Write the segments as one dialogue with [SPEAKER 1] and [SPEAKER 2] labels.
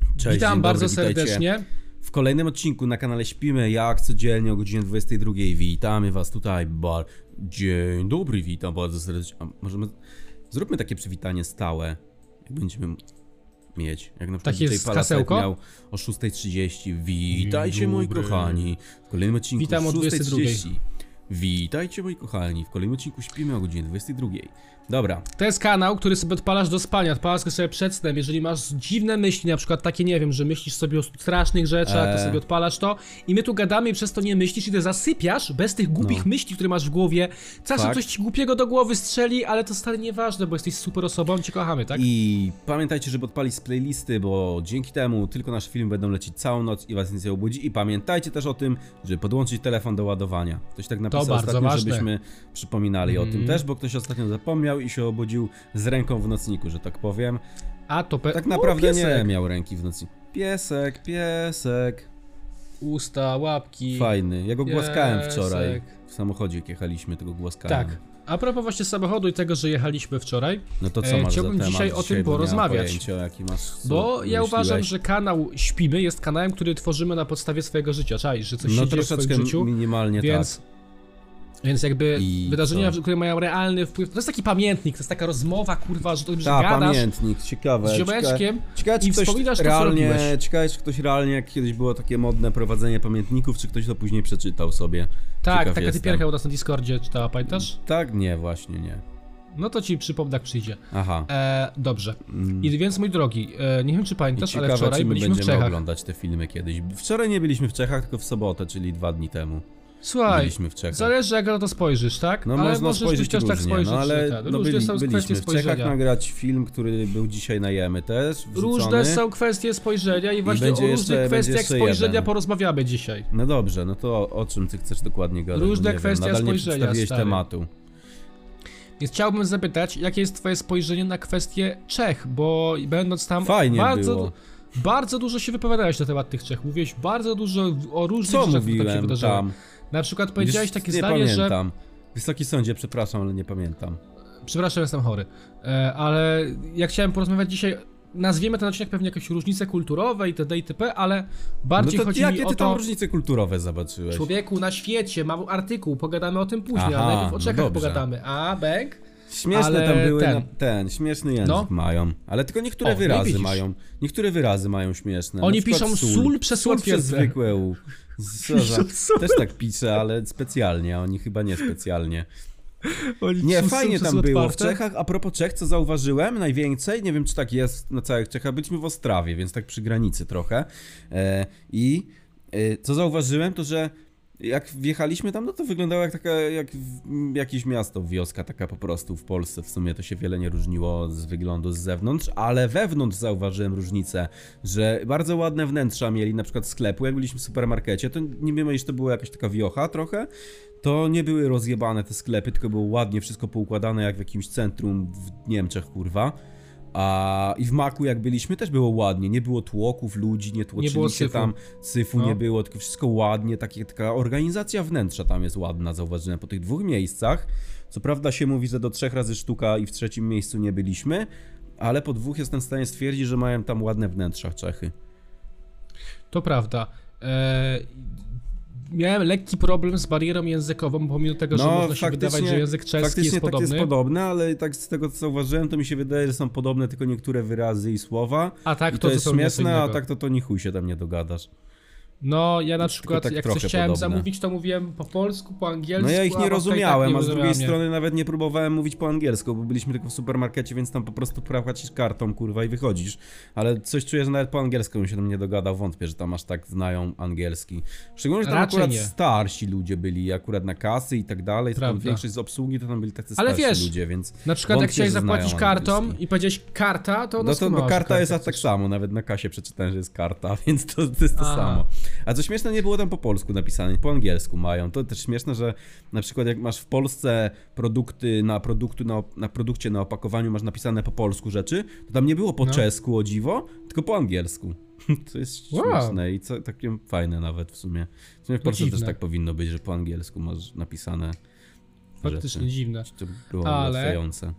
[SPEAKER 1] Cześć,
[SPEAKER 2] Witam
[SPEAKER 1] dzień dobry,
[SPEAKER 2] bardzo
[SPEAKER 1] witajcie.
[SPEAKER 2] serdecznie.
[SPEAKER 1] W kolejnym odcinku na kanale Śpimy jak codziennie o godzinie 22. Witamy was tutaj bar. Dzień dobry, witam bardzo serdecznie. A możemy zróbmy takie przywitanie stałe. Jak będziemy mieć, jak na przykład
[SPEAKER 2] Takie
[SPEAKER 1] DJ
[SPEAKER 2] z
[SPEAKER 1] Palasek
[SPEAKER 2] hasełko?
[SPEAKER 1] miał o 6:30. Witajcie
[SPEAKER 2] Dzień
[SPEAKER 1] moi
[SPEAKER 2] dobry.
[SPEAKER 1] kochani w kolejnym odcinku
[SPEAKER 2] Witam o
[SPEAKER 1] 6:30. Witajcie moi kochani w kolejnym odcinku Śpimy o godzinie 22. Dobra,
[SPEAKER 2] To jest kanał, który sobie odpalasz do spania, odpalasz go sobie przed snem. Jeżeli masz dziwne myśli, na przykład takie, nie wiem, że myślisz sobie o strasznych rzeczach, to
[SPEAKER 1] Eee.
[SPEAKER 2] sobie odpalasz to i my tu gadamy i przez to nie myślisz i ty zasypiasz bez tych głupich myśli, które masz w głowie. Czasem
[SPEAKER 1] No. Fakt.
[SPEAKER 2] coś ci głupiego do głowy strzeli, ale to stale nieważne, bo jesteś super osobą, cię kochamy, tak?
[SPEAKER 1] I pamiętajcie, żeby odpalić z playlisty, bo dzięki temu tylko nasze filmy będą lecieć całą noc i was nic nie obudzi. I pamiętajcie też o tym, żeby podłączyć telefon do ładowania. Ktoś tak napisał
[SPEAKER 2] bardzo
[SPEAKER 1] ostatnio,
[SPEAKER 2] ważne. Mm.
[SPEAKER 1] żebyśmy przypominali o tym też, bo ktoś ostatnio zapomniał i się obudził z ręką w nocniku, że tak powiem.
[SPEAKER 2] A to pe...
[SPEAKER 1] Tak
[SPEAKER 2] O,
[SPEAKER 1] naprawdę nie
[SPEAKER 2] piesek.
[SPEAKER 1] miał ręki w nocniku. Piesek, piesek.
[SPEAKER 2] Usta, łapki.
[SPEAKER 1] Fajny. Ja go głaskałem
[SPEAKER 2] Piesek.
[SPEAKER 1] wczoraj. W samochodzie, jak jechaliśmy, tego głaskałem.
[SPEAKER 2] Tak. A propos właśnie samochodu i tego, że jechaliśmy wczoraj,
[SPEAKER 1] No to co
[SPEAKER 2] E,
[SPEAKER 1] masz za
[SPEAKER 2] chciałbym
[SPEAKER 1] temat
[SPEAKER 2] dzisiaj o
[SPEAKER 1] bo
[SPEAKER 2] tym
[SPEAKER 1] nie mam
[SPEAKER 2] porozmawiać.
[SPEAKER 1] pojęcia, o jaki masz, co
[SPEAKER 2] Bo ja
[SPEAKER 1] wymyśliłeś.
[SPEAKER 2] uważam, że kanał Śpimy jest kanałem, który tworzymy na podstawie swojego życia. Czaisz, że coś
[SPEAKER 1] No
[SPEAKER 2] się dzieje w swoim
[SPEAKER 1] troszeczkę
[SPEAKER 2] życiu,
[SPEAKER 1] minimalnie tak.
[SPEAKER 2] więc... Więc jakby
[SPEAKER 1] I
[SPEAKER 2] wydarzenia,
[SPEAKER 1] co?
[SPEAKER 2] które mają realny wpływ, to jest taki pamiętnik, to jest taka rozmowa, kurwa, że, to, że
[SPEAKER 1] Ta,
[SPEAKER 2] gadasz
[SPEAKER 1] pamiętnik, ciekawe.
[SPEAKER 2] z
[SPEAKER 1] Ciekawe-
[SPEAKER 2] ziomeczkiem
[SPEAKER 1] Ciekawe, czy
[SPEAKER 2] i
[SPEAKER 1] ktoś
[SPEAKER 2] wspominasz to, co
[SPEAKER 1] realnie,
[SPEAKER 2] robiłeś.
[SPEAKER 1] ciekawe, czy ktoś realnie, jak kiedyś było takie modne prowadzenie pamiętników, czy ktoś to później przeczytał sobie.
[SPEAKER 2] Tak,
[SPEAKER 1] Ciekaw
[SPEAKER 2] taka
[SPEAKER 1] jestem.
[SPEAKER 2] typierka u nas na Discordzie czytała, pamiętasz?
[SPEAKER 1] Tak, nie, właśnie nie.
[SPEAKER 2] No to ci przypomnę, jak przyjdzie.
[SPEAKER 1] Aha.
[SPEAKER 2] E, dobrze.
[SPEAKER 1] Mm.
[SPEAKER 2] I więc, mój drogi, e, nie wiem, czy
[SPEAKER 1] I
[SPEAKER 2] pamiętasz, ale
[SPEAKER 1] ciekawe, czy
[SPEAKER 2] wczoraj
[SPEAKER 1] my
[SPEAKER 2] byliśmy
[SPEAKER 1] będziemy
[SPEAKER 2] w Czechach.
[SPEAKER 1] oglądać te filmy kiedyś. Wczoraj nie byliśmy w Czechach, tylko w sobotę, czyli dwa dni temu.
[SPEAKER 2] Słuchaj,
[SPEAKER 1] Byliśmy w Czechach.
[SPEAKER 2] zależy jak na to spojrzysz, tak?
[SPEAKER 1] No
[SPEAKER 2] ale
[SPEAKER 1] można
[SPEAKER 2] możesz
[SPEAKER 1] spojrzeć
[SPEAKER 2] być też
[SPEAKER 1] różnie,
[SPEAKER 2] tak spojrzeć,
[SPEAKER 1] no ale
[SPEAKER 2] że tak.
[SPEAKER 1] no,
[SPEAKER 2] różne
[SPEAKER 1] byli,
[SPEAKER 2] są kwestie
[SPEAKER 1] byliśmy w Czechach no,
[SPEAKER 2] spojrzenia.
[SPEAKER 1] nagrać film, który był dzisiaj na Jemy też, wrzucony.
[SPEAKER 2] Różne są kwestie spojrzenia i właśnie
[SPEAKER 1] będzie
[SPEAKER 2] o
[SPEAKER 1] jeszcze-
[SPEAKER 2] różnych
[SPEAKER 1] będzie
[SPEAKER 2] kwestiach
[SPEAKER 1] jeszcze
[SPEAKER 2] spojrzenia
[SPEAKER 1] jeden.
[SPEAKER 2] porozmawiamy dzisiaj.
[SPEAKER 1] No dobrze, no to o, o czym ty chcesz dokładnie gadać? Bo
[SPEAKER 2] Różne
[SPEAKER 1] nie
[SPEAKER 2] kwestie
[SPEAKER 1] wiem, nadal nie
[SPEAKER 2] spojrzenia,
[SPEAKER 1] przedstawiłeś
[SPEAKER 2] stary.
[SPEAKER 1] tematu.
[SPEAKER 2] Więc chciałbym zapytać, jakie jest twoje spojrzenie na kwestię Czech, bo będąc tam
[SPEAKER 1] Fajnie
[SPEAKER 2] bardzo,
[SPEAKER 1] było.
[SPEAKER 2] bardzo dużo się wypowiadałeś na temat tych Czech. Mówiłeś bardzo dużo o różnych
[SPEAKER 1] Co
[SPEAKER 2] rzeczach, które tam się
[SPEAKER 1] mówiłem
[SPEAKER 2] wydarzyły.
[SPEAKER 1] tam?
[SPEAKER 2] Na przykład powiedziałeś
[SPEAKER 1] Wiesz,
[SPEAKER 2] takie
[SPEAKER 1] nie
[SPEAKER 2] zdanie, że
[SPEAKER 1] pamiętam. Wysoki sądzie, przepraszam, ale nie pamiętam. No
[SPEAKER 2] Przepraszam, jestem chory. E, ale ja chciałem porozmawiać dzisiaj. Nazwiemy ten odcinek pewnie jakieś różnice kulturowe itd. itp., ale bardziej
[SPEAKER 1] no to
[SPEAKER 2] chodzi mi
[SPEAKER 1] jakie
[SPEAKER 2] o
[SPEAKER 1] ty
[SPEAKER 2] to.
[SPEAKER 1] tam różnice kulturowe zobaczyłeś?
[SPEAKER 2] Człowieku na świecie, mam artykuł, pogadamy o tym później,
[SPEAKER 1] Aha,
[SPEAKER 2] ale najpierw o
[SPEAKER 1] no
[SPEAKER 2] Czechach
[SPEAKER 1] dobrze.
[SPEAKER 2] pogadamy. A, bank?
[SPEAKER 1] Śmieszne
[SPEAKER 2] ale
[SPEAKER 1] tam były,
[SPEAKER 2] ten.
[SPEAKER 1] ten, na, ten śmieszny język
[SPEAKER 2] No.
[SPEAKER 1] mają, ale tylko niekktóre
[SPEAKER 2] O, nie
[SPEAKER 1] wyrazy
[SPEAKER 2] widzisz.
[SPEAKER 1] mają. Niektóre wyrazy mają śmieszne. na
[SPEAKER 2] Oni
[SPEAKER 1] przykład
[SPEAKER 2] piszą
[SPEAKER 1] sól,
[SPEAKER 2] sól przez
[SPEAKER 1] sól przez
[SPEAKER 2] potwierdzę.
[SPEAKER 1] zwykłe u. Z- co za- Też tak piszę, ale specjalnie, a oni chyba nie specjalnie. Nie, fajnie tam było w Czechach. A propos Czech, co zauważyłem najwięcej, nie wiem czy tak jest na całych Czechach, byliśmy w Ostrawie, więc tak przy granicy trochę. E, I e, co zauważyłem, to że jak wjechaliśmy tam, no to wyglądało jak taka, jak w, m, jakieś miasto, wioska taka po prostu w Polsce. W sumie to się wiele nie różniło z wyglądu z zewnątrz, ale wewnątrz zauważyłem różnicę, że bardzo ładne wnętrza mieli, na przykład sklepu, jak byliśmy w supermarkecie, to nie wiem, jeśli to była jakaś taka wiocha trochę, to nie były rozjebane te sklepy, tylko było ładnie wszystko poukładane jak w jakimś centrum w Niemczech, kurwa. A i w Maku jak byliśmy też było ładnie, nie było tłoków ludzi, nie tłoczyli
[SPEAKER 2] było
[SPEAKER 1] się
[SPEAKER 2] syfu.
[SPEAKER 1] tam, syfu
[SPEAKER 2] No.
[SPEAKER 1] nie było, tylko wszystko ładnie, takie, taka organizacja wnętrza tam jest ładna, zauważyłem po tych dwóch miejscach. Co prawda się mówi, że do trzech razy sztuka i w trzecim miejscu nie byliśmy, ale po dwóch jestem w stanie stwierdzić, że mają tam ładne wnętrza Czechy.
[SPEAKER 2] To prawda. E, miałem lekki problem z barierą językową, pomimo tego, że można się wydawać, że język czeski
[SPEAKER 1] No, faktycznie
[SPEAKER 2] jest
[SPEAKER 1] tak
[SPEAKER 2] podobny.
[SPEAKER 1] jest podobny, ale tak z tego co zauważyłem, to mi się wydaje, że są podobne tylko niektóre wyrazy i słowa.
[SPEAKER 2] a tak
[SPEAKER 1] I
[SPEAKER 2] to,
[SPEAKER 1] to jest
[SPEAKER 2] zupełnie co
[SPEAKER 1] śmieszne, a
[SPEAKER 2] innego.
[SPEAKER 1] tak to to ni chuj się tam nie dogadasz.
[SPEAKER 2] No, ja na przykład,
[SPEAKER 1] tak
[SPEAKER 2] jak coś
[SPEAKER 1] trochę
[SPEAKER 2] chciałem
[SPEAKER 1] podobne.
[SPEAKER 2] zamówić, to mówiłem po polsku, po angielsku.
[SPEAKER 1] No ja ich nie
[SPEAKER 2] a babka i
[SPEAKER 1] rozumiałem,
[SPEAKER 2] tak
[SPEAKER 1] a z drugiej
[SPEAKER 2] rozumiała mnie.
[SPEAKER 1] strony nawet nie próbowałem mówić po angielsku, bo byliśmy tylko w supermarkecie, więc tam po prostu płacisz kartą, kurwa, i wychodzisz. Ale coś czuję, że nawet po angielsku bym się tam nie dogadał, wątpię, że tam aż tak znają angielski. Szczególnie, że tam
[SPEAKER 2] Raczej
[SPEAKER 1] akurat
[SPEAKER 2] nie.
[SPEAKER 1] starsi ludzie byli, akurat na kasy i tak dalej, stąd
[SPEAKER 2] Prawda.
[SPEAKER 1] większość z obsługi to tam byli tacy
[SPEAKER 2] Ale
[SPEAKER 1] starsi
[SPEAKER 2] wiesz,
[SPEAKER 1] ludzie, więc...
[SPEAKER 2] Na przykład, jak
[SPEAKER 1] Wątpię,
[SPEAKER 2] chciałeś
[SPEAKER 1] że
[SPEAKER 2] zapłacić
[SPEAKER 1] znają
[SPEAKER 2] kartą
[SPEAKER 1] angielski.
[SPEAKER 2] i powiedzieć karta, to ona
[SPEAKER 1] No to
[SPEAKER 2] skumała,
[SPEAKER 1] no,
[SPEAKER 2] że
[SPEAKER 1] karta jest a
[SPEAKER 2] jest
[SPEAKER 1] tak samo, nawet na kasie przeczytałem, że jest karta, więc to, to jest to
[SPEAKER 2] Aha.
[SPEAKER 1] samo. A co śmieszne, nie było tam po polsku napisane, po angielsku mają. To też śmieszne, że na przykład jak masz w Polsce produkty na produktu, na, op- na produkcie, na opakowaniu masz napisane po polsku rzeczy, to tam nie było po
[SPEAKER 2] No.
[SPEAKER 1] czesku, o dziwo, tylko po angielsku. To jest
[SPEAKER 2] Wow. No
[SPEAKER 1] śmieszne i co, takie fajne nawet w sumie. W sumie w Polsce też
[SPEAKER 2] dziwne.
[SPEAKER 1] tak powinno być, że po angielsku masz napisane
[SPEAKER 2] faktycznie rzeczy. dziwne.
[SPEAKER 1] To było Ale łatwiające.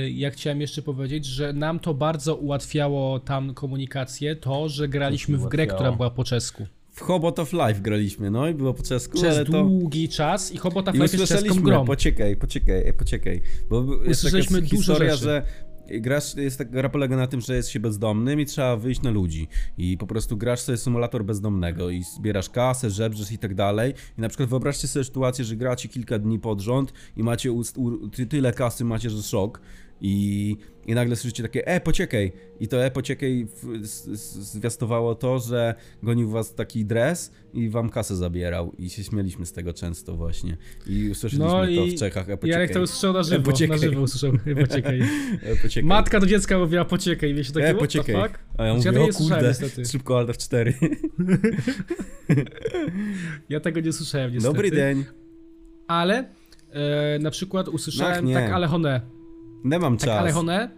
[SPEAKER 2] Yy, ja chciałem jeszcze powiedzieć, że nam to bardzo ułatwiało tam komunikację, to, że graliśmy w grę, która była po czesku.
[SPEAKER 1] W Hobot of Life graliśmy, no i było po czesku,
[SPEAKER 2] Przez
[SPEAKER 1] ale
[SPEAKER 2] to... długi czas i Hobot of Life jest czeską grą.
[SPEAKER 1] Poczekaj, poczekaj, poczekaj, bo jest taka dużo historia, rzeczy. że grasz, jest tak, gra polega na tym, że jest się bezdomnym i trzeba wyjść na ludzi. I po prostu grasz sobie symulator bezdomnego i zbierasz kasę, żebrzysz i tak dalej. I na przykład wyobraźcie sobie sytuację, że gracie kilka dni pod rząd i macie ust, u, ty, tyle kasy macie, że szok. I, I nagle słyszycie takie e, pociekaj. I to e, pociekaj zwiastowało to, że gonił was taki dres i wam kasę zabierał. I się śmieliśmy z tego często właśnie. I usłyszeliśmy no i to w Czechach, e, pociekaj.
[SPEAKER 2] Jarek to usłyszał na żywo, e, pociekaj. na żywo usłyszał, e, pociekaj. E, pociekaj. Matka do dziecka mówiła pociekaj, wiecie, takie e, pociekaj. what the fuck?
[SPEAKER 1] A ja mówię, ja o kurde, niestety. szybko Alt F4.
[SPEAKER 2] ja tego nie słyszałem niestety.
[SPEAKER 1] Dobry dzień.
[SPEAKER 2] Ale e, na przykład usłyszałem Ach, tak, ale one.
[SPEAKER 1] Nie mam
[SPEAKER 2] tak
[SPEAKER 1] czas.
[SPEAKER 2] Alejone,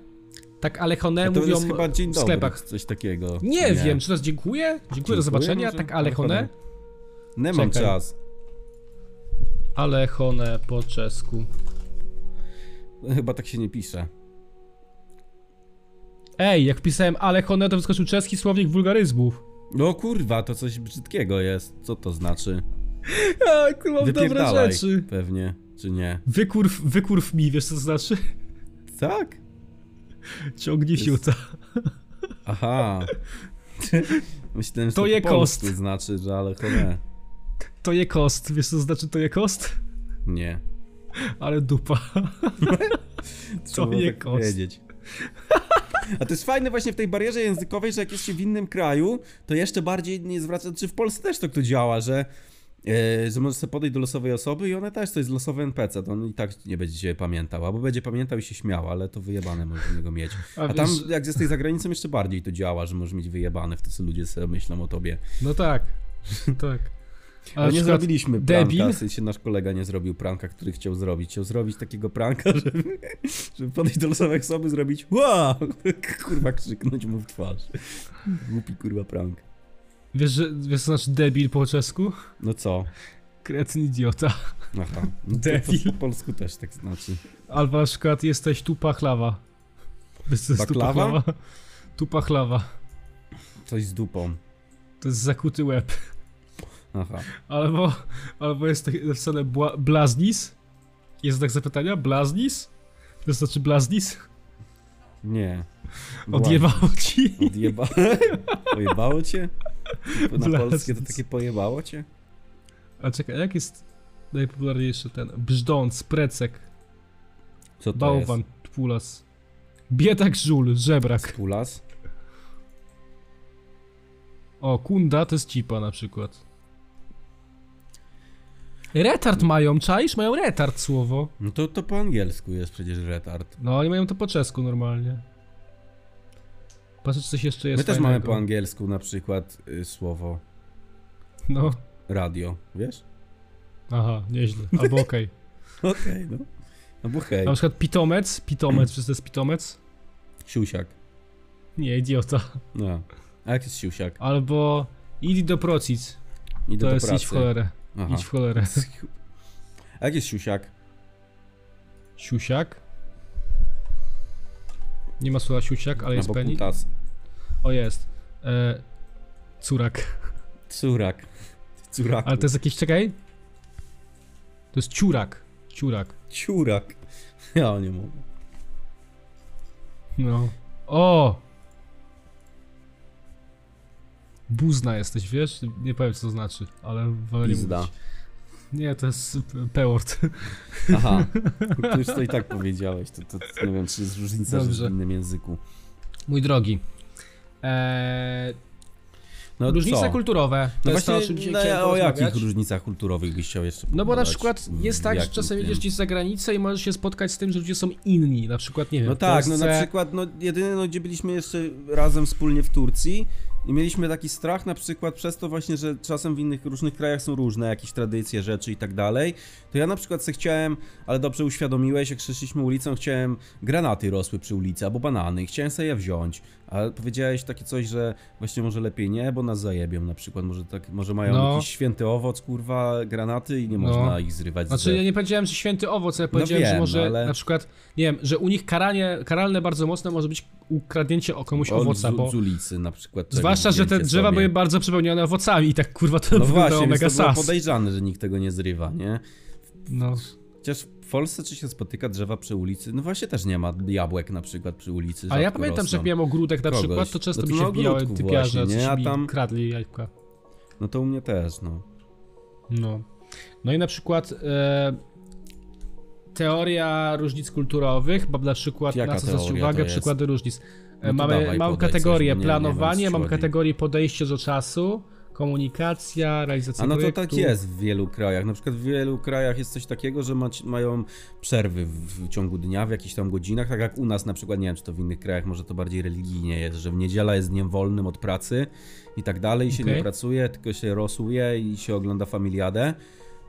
[SPEAKER 2] tak Alejone
[SPEAKER 1] to
[SPEAKER 2] mówią
[SPEAKER 1] chyba dzień
[SPEAKER 2] dobry, w sklepach.
[SPEAKER 1] Coś takiego.
[SPEAKER 2] Nie, nie. wiem, czy teraz dziękuję. Dziękuję, dziękuję do zobaczenia. Może? Tak Alejone.
[SPEAKER 1] Nie mam Czekaj. czas.
[SPEAKER 2] Alejone po czesku.
[SPEAKER 1] No, chyba tak się nie pisze.
[SPEAKER 2] Ej, jak pisałem Alejone, to wyskoczył czeski słownik wulgaryzmów.
[SPEAKER 1] No kurwa, to coś brzydkiego jest. Co to znaczy?
[SPEAKER 2] A, kurwa, dobre rzeczy.
[SPEAKER 1] Pewnie, czy nie?
[SPEAKER 2] Wykurw, wykurw mi, wiesz co to znaczy?
[SPEAKER 1] Tak?
[SPEAKER 2] Ciągnij jest... siuta.
[SPEAKER 1] Aha. Myślałem, że
[SPEAKER 2] to, to je kost.
[SPEAKER 1] znaczy, że ale cholera.
[SPEAKER 2] To je kost. Wiesz co to znaczy to je kost?
[SPEAKER 1] Nie.
[SPEAKER 2] Ale dupa. to je tak kost. Wiedzieć.
[SPEAKER 1] A to jest fajne właśnie w tej barierze językowej, że jak jest się w innym kraju, to jeszcze bardziej nie zwraca... Czy w Polsce też tak to działa, że... Yy, że możesz sobie podejść do losowej osoby i ona też to jest losowy NPC, to on i tak nie będzie cię pamiętał, albo będzie pamiętał i się śmiał, ale to wyjebane możesz niego mieć. A, A tam wiesz... jak jesteś za granicą jeszcze bardziej to działa, że możesz mieć wyjebane, w to co ludzie sobie myślą o tobie.
[SPEAKER 2] No tak, tak.
[SPEAKER 1] Ale no nie zrobiliśmy debil? pranka, w sensie nasz kolega nie zrobił pranka, który chciał zrobić. Chciał zrobić takiego pranka, żeby, żeby podejść do losowej osoby, zrobić wow, kurwa krzyknąć mu w twarz. Głupi kurwa prank.
[SPEAKER 2] Wiesz, że, wiesz co znaczy debil po czesku?
[SPEAKER 1] No co?
[SPEAKER 2] Kretyn idiota.
[SPEAKER 1] Aha. No debil. po polsku też tak znaczy.
[SPEAKER 2] Albo na przykład jesteś tu pachlawa. Wiesz co jest Baklawa? Tu pachlawa.
[SPEAKER 1] Coś z dupą.
[SPEAKER 2] To jest zakuty łeb.
[SPEAKER 1] Aha.
[SPEAKER 2] Albo, albo jest tak napisane bła, blaznis. Jest tak zapytania? Blaznis? To znaczy blaznis?
[SPEAKER 1] Nie.
[SPEAKER 2] Błaznis. Odjebało ci.
[SPEAKER 1] Odjeba... Odjebało cię? Na Blastens. polskie to takie pojebało cię?
[SPEAKER 2] A czekaj, jak jest najpopularniejszy ten? Brzdąc, precek.
[SPEAKER 1] Co to
[SPEAKER 2] Bałwan,
[SPEAKER 1] jest?
[SPEAKER 2] pulas. Biedak żul, żebrak.
[SPEAKER 1] Pulas?
[SPEAKER 2] O, kunda to jest cipa na przykład.
[SPEAKER 1] Mm.
[SPEAKER 2] Retard mają, czaisz? Mają retard słowo.
[SPEAKER 1] No to, to po angielsku jest przecież retard.
[SPEAKER 2] No, oni mają to po czesku normalnie. Patrzę, czy coś jeszcze jest
[SPEAKER 1] My też
[SPEAKER 2] fajnego.
[SPEAKER 1] mamy po angielsku na przykład y, słowo.
[SPEAKER 2] No.
[SPEAKER 1] Radio, wiesz?
[SPEAKER 2] Aha, nieźle. Albo okej.
[SPEAKER 1] Okay. okej, okay, no. Albo hej.
[SPEAKER 2] Na przykład pitomec, pitomec, przecież to jest pitomec.
[SPEAKER 1] Siusiak.
[SPEAKER 2] Nie, idiota.
[SPEAKER 1] No. A jak jest siusiak?
[SPEAKER 2] Albo idź do procic. Idę to do jest pracy. idź w cholerę. Aha. Idź w cholerę.
[SPEAKER 1] A jak jest siusiak?
[SPEAKER 2] Siusiak? Nie ma słowa siusiak, ale jest Albo penis. Putas. O jest. E, curak.
[SPEAKER 1] Curak. Curak.
[SPEAKER 2] Ale to jest jakiś, czekaj. To jest ciurak. Ciurak.
[SPEAKER 1] Ciurak. Ja nie mogę.
[SPEAKER 2] No. O! Buzna jesteś, wiesz? Nie powiem co to znaczy, ale wolę nie mówić. Nie, to jest Peort.
[SPEAKER 1] Aha, ty już to i tak powiedziałeś, to, to, to, nie wiem, czy jest różnica Dobrze. w innym języku.
[SPEAKER 2] Mój drogi, eee, no różnice co? kulturowe.
[SPEAKER 1] To no właśnie, to, o, no, o jakich różnicach kulturowych byś chciał jeszcze
[SPEAKER 2] No bo na przykład jest tak, że czasem jedziesz gdzieś za granicę i możesz się spotkać z tym, że ludzie są inni, na przykład, nie wiem.
[SPEAKER 1] No tak, Polsce... no na przykład, no jedyne, no, gdzie byliśmy jeszcze razem wspólnie w Turcji, i mieliśmy taki strach na przykład przez to właśnie, że czasem w innych różnych krajach są różne jakieś tradycje, rzeczy i tak dalej. To ja na przykład se chciałem, ale dobrze uświadomiłeś, jak szliśmy ulicą, chciałem granaty rosły przy ulicy albo banany, chciałem sobie je wziąć. A powiedziałeś takie coś, że właśnie może lepiej nie, bo nas zajebią na przykład. Może, tak, może mają no. jakiś święty owoc, kurwa, granaty i nie no. można ich zrywać.
[SPEAKER 2] Znaczy ze... ja nie powiedziałem, że święty owoc, ja powiedziałem, no wiem, że może ale... na przykład, nie wiem, że u nich karanie, karalne bardzo mocno może być ukradnięcie o komuś Od owoca,
[SPEAKER 1] z,
[SPEAKER 2] bo...
[SPEAKER 1] Z ulicy na przykład.
[SPEAKER 2] Zwłaszcza, że te drzewa sobie. były bardzo przepełnione owocami i tak kurwa to no wyglądało mega
[SPEAKER 1] to było podejrzane, że nikt tego nie zrywa, nie? No. Chociaż w Polsce czy się spotyka drzewa przy ulicy? No właśnie też nie ma jabłek na przykład przy ulicy.
[SPEAKER 2] A ja pamiętam, rosną. że jak miałem ogródek na Kogoś. przykład, to często no to mi się wbijały typiarze, właśnie, nie? A tam... kradli jajka.
[SPEAKER 1] No to u mnie też, no.
[SPEAKER 2] No. No i na przykład e... teoria różnic kulturowych, bo na przykład Jaka na co zwrócić uwagę, przykłady różnic. No mamy, mam kategorię coś, planowanie, mam kategorię podejście do czasu, komunikacja, realizacja
[SPEAKER 1] A no
[SPEAKER 2] projektu.
[SPEAKER 1] to tak jest w wielu krajach. Na przykład w wielu krajach jest coś takiego, że mać, mają przerwy w, w, ciągu dnia, w jakichś tam godzinach, tak jak u nas na przykład, nie wiem czy to w innych krajach, może to bardziej religijnie jest, że w niedziela jest dniem wolnym od pracy i tak dalej, i się okay. nie pracuje, tylko się rosuje i się ogląda familiadę.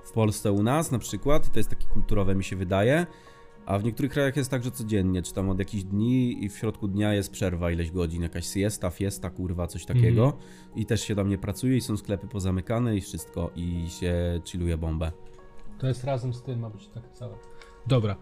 [SPEAKER 1] W Polsce u nas na przykład, i to jest takie kulturowe mi się wydaje, a w niektórych krajach jest tak, że codziennie, czy tam od jakichś dni i w środku dnia jest przerwa ileś godzin, jakaś siesta, fiesta, kurwa, coś takiego. Mm. I też się tam nie pracuje i są sklepy pozamykane i wszystko i się chilluje bombę.
[SPEAKER 2] To jest razem z tym, ma być tak całe. Dobra.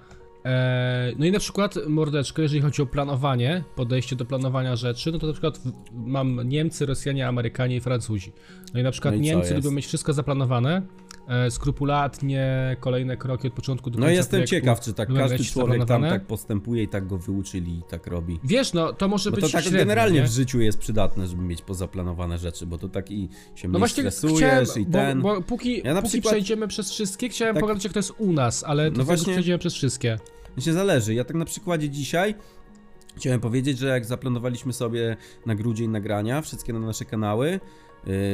[SPEAKER 2] Eee, no i na przykład mordeczko, jeżeli chodzi o planowanie, podejście do planowania rzeczy, no to na przykład mam Niemcy, Rosjanie, Amerykanie i Francuzi. No i na przykład no i Niemcy lubią mieć wszystko zaplanowane, e, skrupulatnie kolejne kroki od początku do
[SPEAKER 1] końca. No jestem projektu, ciekaw, czy tak każdy człowiek tam tak postępuje i tak go wyuczyli i tak robi.
[SPEAKER 2] Wiesz, no to może
[SPEAKER 1] bo
[SPEAKER 2] być
[SPEAKER 1] to tak
[SPEAKER 2] średnio,
[SPEAKER 1] generalnie nie? w życiu jest przydatne, żeby mieć pozaplanowane rzeczy, bo to tak i się no właśnie stresujesz
[SPEAKER 2] chciałem,
[SPEAKER 1] i ten...
[SPEAKER 2] Bo, bo póki, ja póki przykład... przejdziemy przez wszystkie, chciałem tak... pogadać jak to jest u nas, ale to no właśnie... przejdziemy przez wszystkie.
[SPEAKER 1] Mi się zależy. Ja tak na przykładzie dzisiaj chciałem powiedzieć, że jak zaplanowaliśmy sobie na grudzień nagrania, wszystkie na nasze kanały,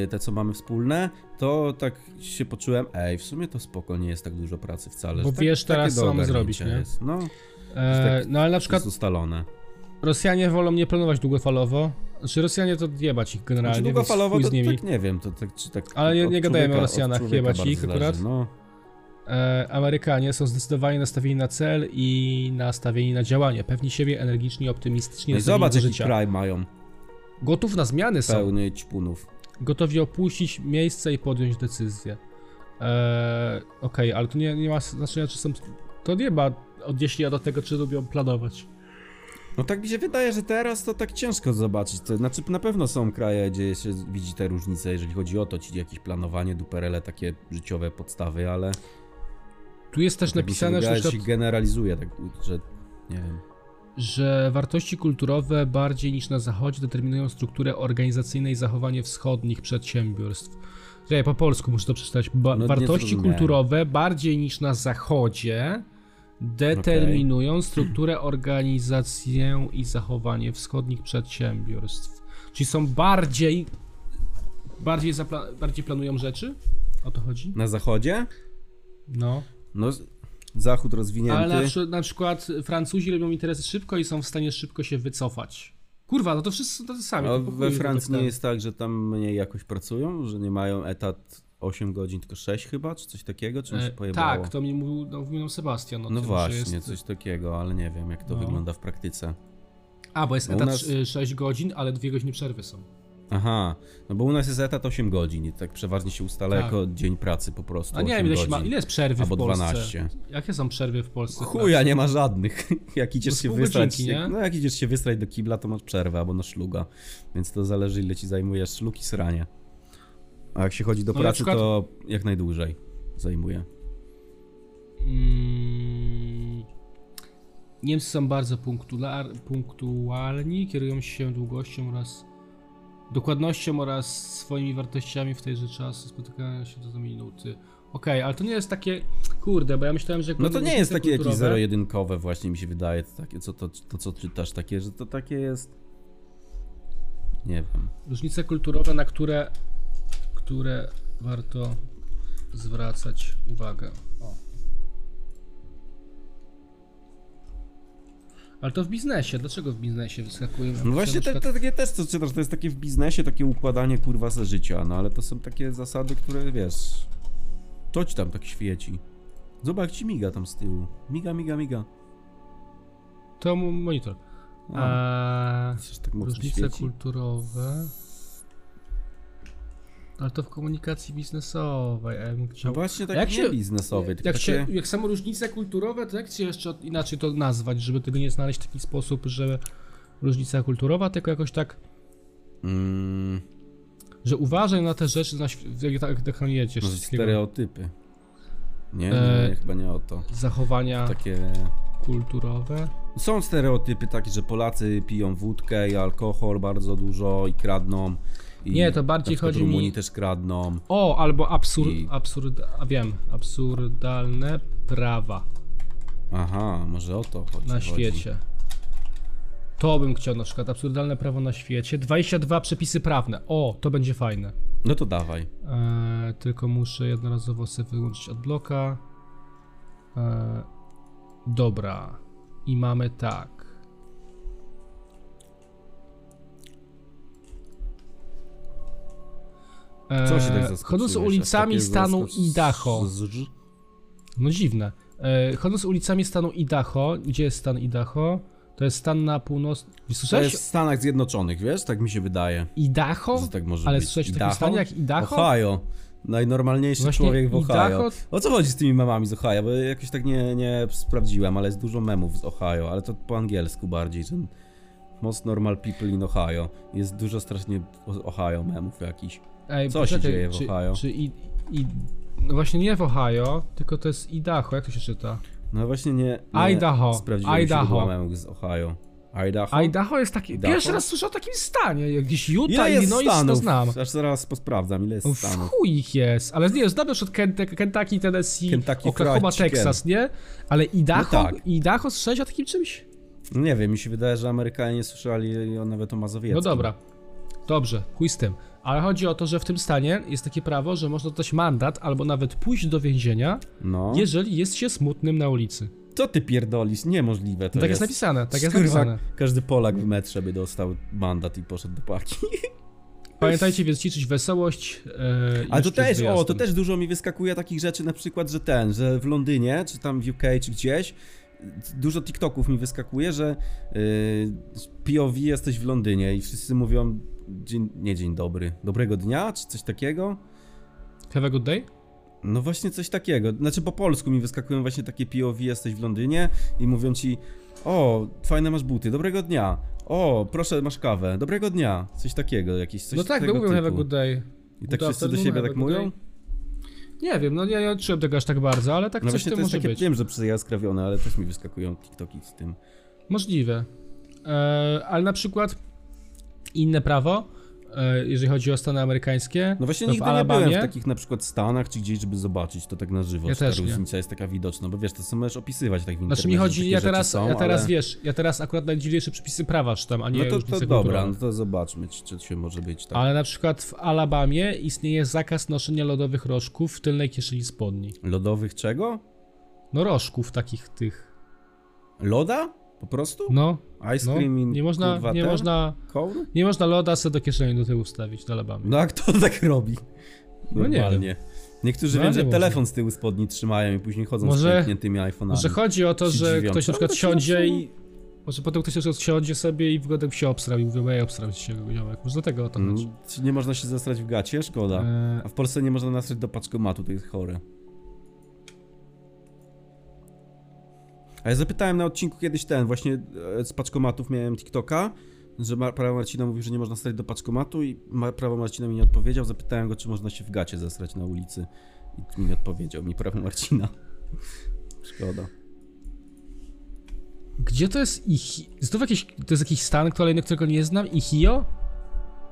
[SPEAKER 1] y, te co mamy wspólne, to tak się poczułem, ej, w sumie to spoko, nie jest tak dużo pracy wcale.
[SPEAKER 2] Bo
[SPEAKER 1] tak,
[SPEAKER 2] wiesz teraz, co mamy zrobić, nie?
[SPEAKER 1] Jest. No,
[SPEAKER 2] eee, tak, no ale na przykład
[SPEAKER 1] jest ustalone. Znaczy,
[SPEAKER 2] Rosjanie wolą nie planować długofalowo, znaczy Rosjanie to jebać ich generalnie, znaczy,
[SPEAKER 1] długofalowo
[SPEAKER 2] to, z nimi.
[SPEAKER 1] tak nie wiem, to tak czy tak...
[SPEAKER 2] Ale nie, nie gadajmy o Rosjanach, jebać ich akurat. Zależy, no. eee, Amerykanie są zdecydowanie nastawieni na cel i nastawieni na działanie. Pewni siebie, energiczni, optymistycznie. No
[SPEAKER 1] i zobacz,
[SPEAKER 2] jaki
[SPEAKER 1] życia. kraj mają.
[SPEAKER 2] Gotów na zmiany są.
[SPEAKER 1] Pełny ćpunów
[SPEAKER 2] gotowi opuścić miejsce i podjąć decyzję. Eee, Okej, okay, ale to nie, nie ma znaczenia, czy są. To nie ma odniesienia do tego, czy lubią planować.
[SPEAKER 1] No tak mi się wydaje, że teraz to tak ciężko zobaczyć. To znaczy, na pewno są kraje, gdzie się widzi te różnice, jeżeli chodzi o to, czyli jakieś planowanie, duperele, takie życiowe podstawy, ale.
[SPEAKER 2] Tu jest też
[SPEAKER 1] tak
[SPEAKER 2] napisane,
[SPEAKER 1] wydaje,
[SPEAKER 2] że.
[SPEAKER 1] Przykład... się generalizuje, tak, że. Nie wiem
[SPEAKER 2] że wartości kulturowe bardziej niż na zachodzie determinują strukturę organizacyjną i zachowanie wschodnich przedsiębiorstw. Ja po polsku muszę to przeczytać. Ba no, wartości kulturowe bardziej niż na zachodzie determinują okay. strukturę organizację i zachowanie wschodnich przedsiębiorstw. Czyli są bardziej bardziej, bardziej planują rzeczy? O to chodzi?
[SPEAKER 1] Na zachodzie?
[SPEAKER 2] No.
[SPEAKER 1] No zachód rozwinięty.
[SPEAKER 2] Ale na, na, przykład Francuzi robią interesy szybko i są w stanie szybko się wycofać. Kurwa, no to wszyscy to sami. No,
[SPEAKER 1] we Francji nie jest tak, że tam mniej jakoś pracują, że nie mają etat 8 godzin, tylko 6 chyba, czy coś takiego, czy się pojebało?
[SPEAKER 2] Tak, to mi mówił, no, mówił nam Sebastian.
[SPEAKER 1] No, no właśnie, jest... coś takiego, ale nie wiem jak to no. wygląda w praktyce.
[SPEAKER 2] A, bo jest bo etat nas... 6 godzin, ale 2 godziny przerwy są.
[SPEAKER 1] Aha, no bo u nas jest etat 8 godzin i tak przeważnie się ustala tak. jako dzień pracy po prostu.
[SPEAKER 2] A nie wiem, ile, ma, ile jest przerwy
[SPEAKER 1] albo
[SPEAKER 2] w Polsce?
[SPEAKER 1] 12.
[SPEAKER 2] Jakie są przerwy w Polsce?
[SPEAKER 1] Chuja, nie ma żadnych. Jak idziesz, no się wysrać, jak, no jak idziesz się wysrać do kibla, to masz przerwę albo na szluga. Więc to zależy, ile ci zajmujesz szlug i sranie. A jak się chodzi do no pracy, przykład... to jak najdłużej zajmuje.
[SPEAKER 2] Mm... Niemcy są bardzo punktualni, kierują się długością oraz dokładnością oraz swoimi wartościami w tejże czasu spotykają się do minuty. Okej, okay, ale to nie jest takie, kurde, bo ja myślałem, że...
[SPEAKER 1] No to nie jest takie kulturowe... jakieś zero-jedynkowe właśnie mi się wydaje, to, takie, co, to, to co czytasz, takie, że to takie jest... Nie wiem.
[SPEAKER 2] Różnice kulturowe, na które, które warto zwracać uwagę. O. Ale to w biznesie, dlaczego w biznesie wyskakuje?
[SPEAKER 1] No właśnie te, te, takie też co czytasz, to jest takie w biznesie, takie układanie kurwa ze życia, no ale to są takie zasady, które wiesz, to ci tam tak świeci. Zobacz jak ci miga tam z tyłu, miga, miga, miga.
[SPEAKER 2] To monitor. A, tak różnice świeci. kulturowe. Ale to w komunikacji biznesowej, a ja bym chciał...
[SPEAKER 1] No właśnie tak jak nie się, biznesowej.
[SPEAKER 2] Jak, takie... się, jak samo różnice kulturowe, to jak się jeszcze inaczej to nazwać, żeby tego nie znaleźć w taki sposób, że różnica kulturowa, tylko jakoś tak... Mm. Że uważaj na te rzeczy, na, jak tak dekranujecie.
[SPEAKER 1] Może stereotypy. Nie, nie, nie,
[SPEAKER 2] E-
[SPEAKER 1] chyba nie o to.
[SPEAKER 2] Zachowania
[SPEAKER 1] takie
[SPEAKER 2] Tak. kulturowe.
[SPEAKER 1] Są stereotypy takie, że Polacy piją wódkę i alkohol bardzo dużo i kradną. I
[SPEAKER 2] nie, to bardziej chodzi
[SPEAKER 1] Rumuni
[SPEAKER 2] mi...
[SPEAKER 1] też kradną.
[SPEAKER 2] O, albo absurd, i... absurd, a wiem, absurdalne prawa.
[SPEAKER 1] Aha, może o to chodzi.
[SPEAKER 2] Na świecie. Chodzi. To bym chciał na przykład, absurdalne prawo na świecie. 22 przepisy prawne. O, to będzie fajne.
[SPEAKER 1] No to dawaj.
[SPEAKER 2] Eee, tylko muszę jednorazowo sobie wyłączyć od bloka. Eee, dobra. I mamy tak.
[SPEAKER 1] Eee, Co się tak
[SPEAKER 2] E, Chodząc ulicami stanu Idaho. No dziwne. Chodząc ulicami stanu Idaho, gdzie jest stan Idaho? To jest stan na północ.
[SPEAKER 1] Słyszałeś? To jest w Stanach Zjednoczonych, wiesz? Tak mi się wydaje.
[SPEAKER 2] Idaho?
[SPEAKER 1] Co tak może
[SPEAKER 2] Ale
[SPEAKER 1] być.
[SPEAKER 2] słyszałeś Idaho? taki stan jak Idaho?
[SPEAKER 1] Ohio. Najnormalniejszy Właśnie człowiek w Ohio. Idaho? O co chodzi z tymi memami z Ohio? Bo jakoś tak nie, nie sprawdziłem, ale jest dużo memów z Ohio, ale to po angielsku bardziej. Ten most normal people in Ohio. Jest dużo strasznie Ohio memów jakichś.
[SPEAKER 2] Ej,
[SPEAKER 1] co się dzieje w Ohio?
[SPEAKER 2] Czy, czy i, i, no właśnie nie w Ohio, tylko to jest Idaho, jak to się czyta?
[SPEAKER 1] No właśnie nie,
[SPEAKER 2] nie Idaho.
[SPEAKER 1] sprawdziłem
[SPEAKER 2] Idaho.
[SPEAKER 1] z Ohio. Idaho?
[SPEAKER 2] Idaho jest taki, Idaho? pierwszy raz słyszę o takim stanie, jak gdzieś Utah,
[SPEAKER 1] ile jest
[SPEAKER 2] Illinois,
[SPEAKER 1] stanów?
[SPEAKER 2] to no znam.
[SPEAKER 1] Aż zaraz posprawdzam, ile jest
[SPEAKER 2] No,
[SPEAKER 1] stanów.
[SPEAKER 2] chuj ich jest, ale nie, znam już od Kentucky, Tennessee,
[SPEAKER 1] Kentucky
[SPEAKER 2] Oklahoma,
[SPEAKER 1] Fried
[SPEAKER 2] Texas, nie? Ale Idaho,
[SPEAKER 1] No tak.
[SPEAKER 2] Idaho słyszałeś o takim czymś? No
[SPEAKER 1] No Nie wiem, mi się wydaje, że Amerykanie nie słyszeli o- nawet o mazowieckim.
[SPEAKER 2] No dobra, dobrze, chuj z tym. Ale chodzi o to, że w tym stanie jest takie prawo, że można dostać mandat albo nawet pójść do więzienia,
[SPEAKER 1] No.
[SPEAKER 2] jeżeli jest się smutnym na ulicy.
[SPEAKER 1] Co ty pierdolisz? Niemożliwe to
[SPEAKER 2] tak jest
[SPEAKER 1] jest.
[SPEAKER 2] napisane, tak jest
[SPEAKER 1] Skurwa,
[SPEAKER 2] napisane.
[SPEAKER 1] Każdy Polak w metrze by dostał mandat i poszedł do paki.
[SPEAKER 2] Pamiętajcie więc ćwiczyć wesołość. e,
[SPEAKER 1] A
[SPEAKER 2] już
[SPEAKER 1] to
[SPEAKER 2] przed
[SPEAKER 1] też, o, to
[SPEAKER 2] wyjazdem.
[SPEAKER 1] też dużo mi wyskakuje takich rzeczy, na przykład, że ten, że w Londynie, czy tam w UK, czy gdzieś, dużo TikToków mi wyskakuje, że yy, POV jesteś w Londynie i wszyscy mówią, dzień, nie dzień dobry, dobrego dnia, czy coś takiego.
[SPEAKER 2] Have a good day?
[SPEAKER 1] No właśnie coś takiego. Znaczy po polsku mi wyskakują właśnie takie POV, jesteś w Londynie i mówią ci o, fajne masz buty, dobrego dnia. O, proszę, masz kawę, dobrego dnia. Coś takiego, jakieś coś
[SPEAKER 2] no tak,
[SPEAKER 1] tego
[SPEAKER 2] no mówią
[SPEAKER 1] typu.
[SPEAKER 2] have a good day.
[SPEAKER 1] I tak
[SPEAKER 2] Good
[SPEAKER 1] wszyscy do
[SPEAKER 2] afternoon,
[SPEAKER 1] siebie
[SPEAKER 2] have a
[SPEAKER 1] tak
[SPEAKER 2] good
[SPEAKER 1] mówią?
[SPEAKER 2] day. Nie wiem, no ja nie odczułem tego aż tak bardzo, ale tak
[SPEAKER 1] No
[SPEAKER 2] coś
[SPEAKER 1] właśnie
[SPEAKER 2] to,
[SPEAKER 1] to jest
[SPEAKER 2] może
[SPEAKER 1] takie,
[SPEAKER 2] być.
[SPEAKER 1] wiem, że przejaskrawione, ale też mi wyskakują TikToki z tym.
[SPEAKER 2] Możliwe. E, ale na przykład inne prawo, e, jeżeli chodzi o Stany amerykańskie,
[SPEAKER 1] No właśnie
[SPEAKER 2] to
[SPEAKER 1] nigdy
[SPEAKER 2] w Alabamie,
[SPEAKER 1] nie byłem w takich na przykład Stanach, czy gdzieś, żeby zobaczyć to tak na żywo,
[SPEAKER 2] Ja
[SPEAKER 1] czy ta
[SPEAKER 2] też nie.
[SPEAKER 1] różnica jest taka widoczna, bo wiesz, to co możesz opisywać tak w internecie,
[SPEAKER 2] Znaczy mi
[SPEAKER 1] że
[SPEAKER 2] chodzi,
[SPEAKER 1] takie
[SPEAKER 2] ja
[SPEAKER 1] rzeczy
[SPEAKER 2] teraz,
[SPEAKER 1] są,
[SPEAKER 2] ja teraz
[SPEAKER 1] ale...
[SPEAKER 2] wiesz, ja teraz akurat najdziwniejsze przepisy prawa czytam, a nie
[SPEAKER 1] No to, to
[SPEAKER 2] różnice
[SPEAKER 1] dobra,
[SPEAKER 2] kulturowe.
[SPEAKER 1] no to zobaczmy, czy, czy się może być tak.
[SPEAKER 2] Ale na przykład w Alabamie istnieje zakaz noszenia lodowych rożków w tylnej kieszeni spodni.
[SPEAKER 1] Lodowych czego?
[SPEAKER 2] No rożków takich tych.
[SPEAKER 1] Loda? Po prostu?
[SPEAKER 2] No,
[SPEAKER 1] Ice
[SPEAKER 2] no
[SPEAKER 1] cream in
[SPEAKER 2] nie można,
[SPEAKER 1] kurwa
[SPEAKER 2] nie
[SPEAKER 1] ten?
[SPEAKER 2] można,
[SPEAKER 1] Cone?
[SPEAKER 2] nie można loda sobie do kieszeni do tyłu wstawić w Alabamie.
[SPEAKER 1] No a kto tak robi?
[SPEAKER 2] No nie
[SPEAKER 1] Normalnie. Niektórzy
[SPEAKER 2] No,
[SPEAKER 1] wiem,
[SPEAKER 2] nie
[SPEAKER 1] że
[SPEAKER 2] można.
[SPEAKER 1] telefon z tyłu spodni trzymają i później chodzą
[SPEAKER 2] Może-
[SPEAKER 1] z pękniętymi iPhone'ami.
[SPEAKER 2] Może chodzi o to,
[SPEAKER 1] Się
[SPEAKER 2] że
[SPEAKER 1] dziwią.
[SPEAKER 2] ktoś
[SPEAKER 1] Czemu
[SPEAKER 2] na przykład
[SPEAKER 1] tak się
[SPEAKER 2] siądzie i...
[SPEAKER 1] odsuwa?
[SPEAKER 2] Może potem ktoś na przykład siądzie sobie i wygodem się obsrał i mówią, ej, obsrał ci się ziomek. Może do tego o to
[SPEAKER 1] Mm, tak.
[SPEAKER 2] chodzi.
[SPEAKER 1] czy nie można się zasrać w gacie? Szkoda.
[SPEAKER 2] Eee,
[SPEAKER 1] A w Polsce nie można nasrać do paczkomatu, to jest chore. A ja zapytałem na odcinku kiedyś ten, właśnie e, z paczkomatów miałem TikToka, że Mar- prawo Marcina mówił, że nie można stać do paczkomatu i Mar- prawo Marcina mi nie odpowiedział. Zapytałem go, czy można się w gacie zasrać na ulicy i mi nie odpowiedział, mi prawo Marcina. Szkoda.
[SPEAKER 2] Gdzie to jest Ichi... Znowu jakiś, to jest jakiś stan kolejny, którego nie znam? Ichio?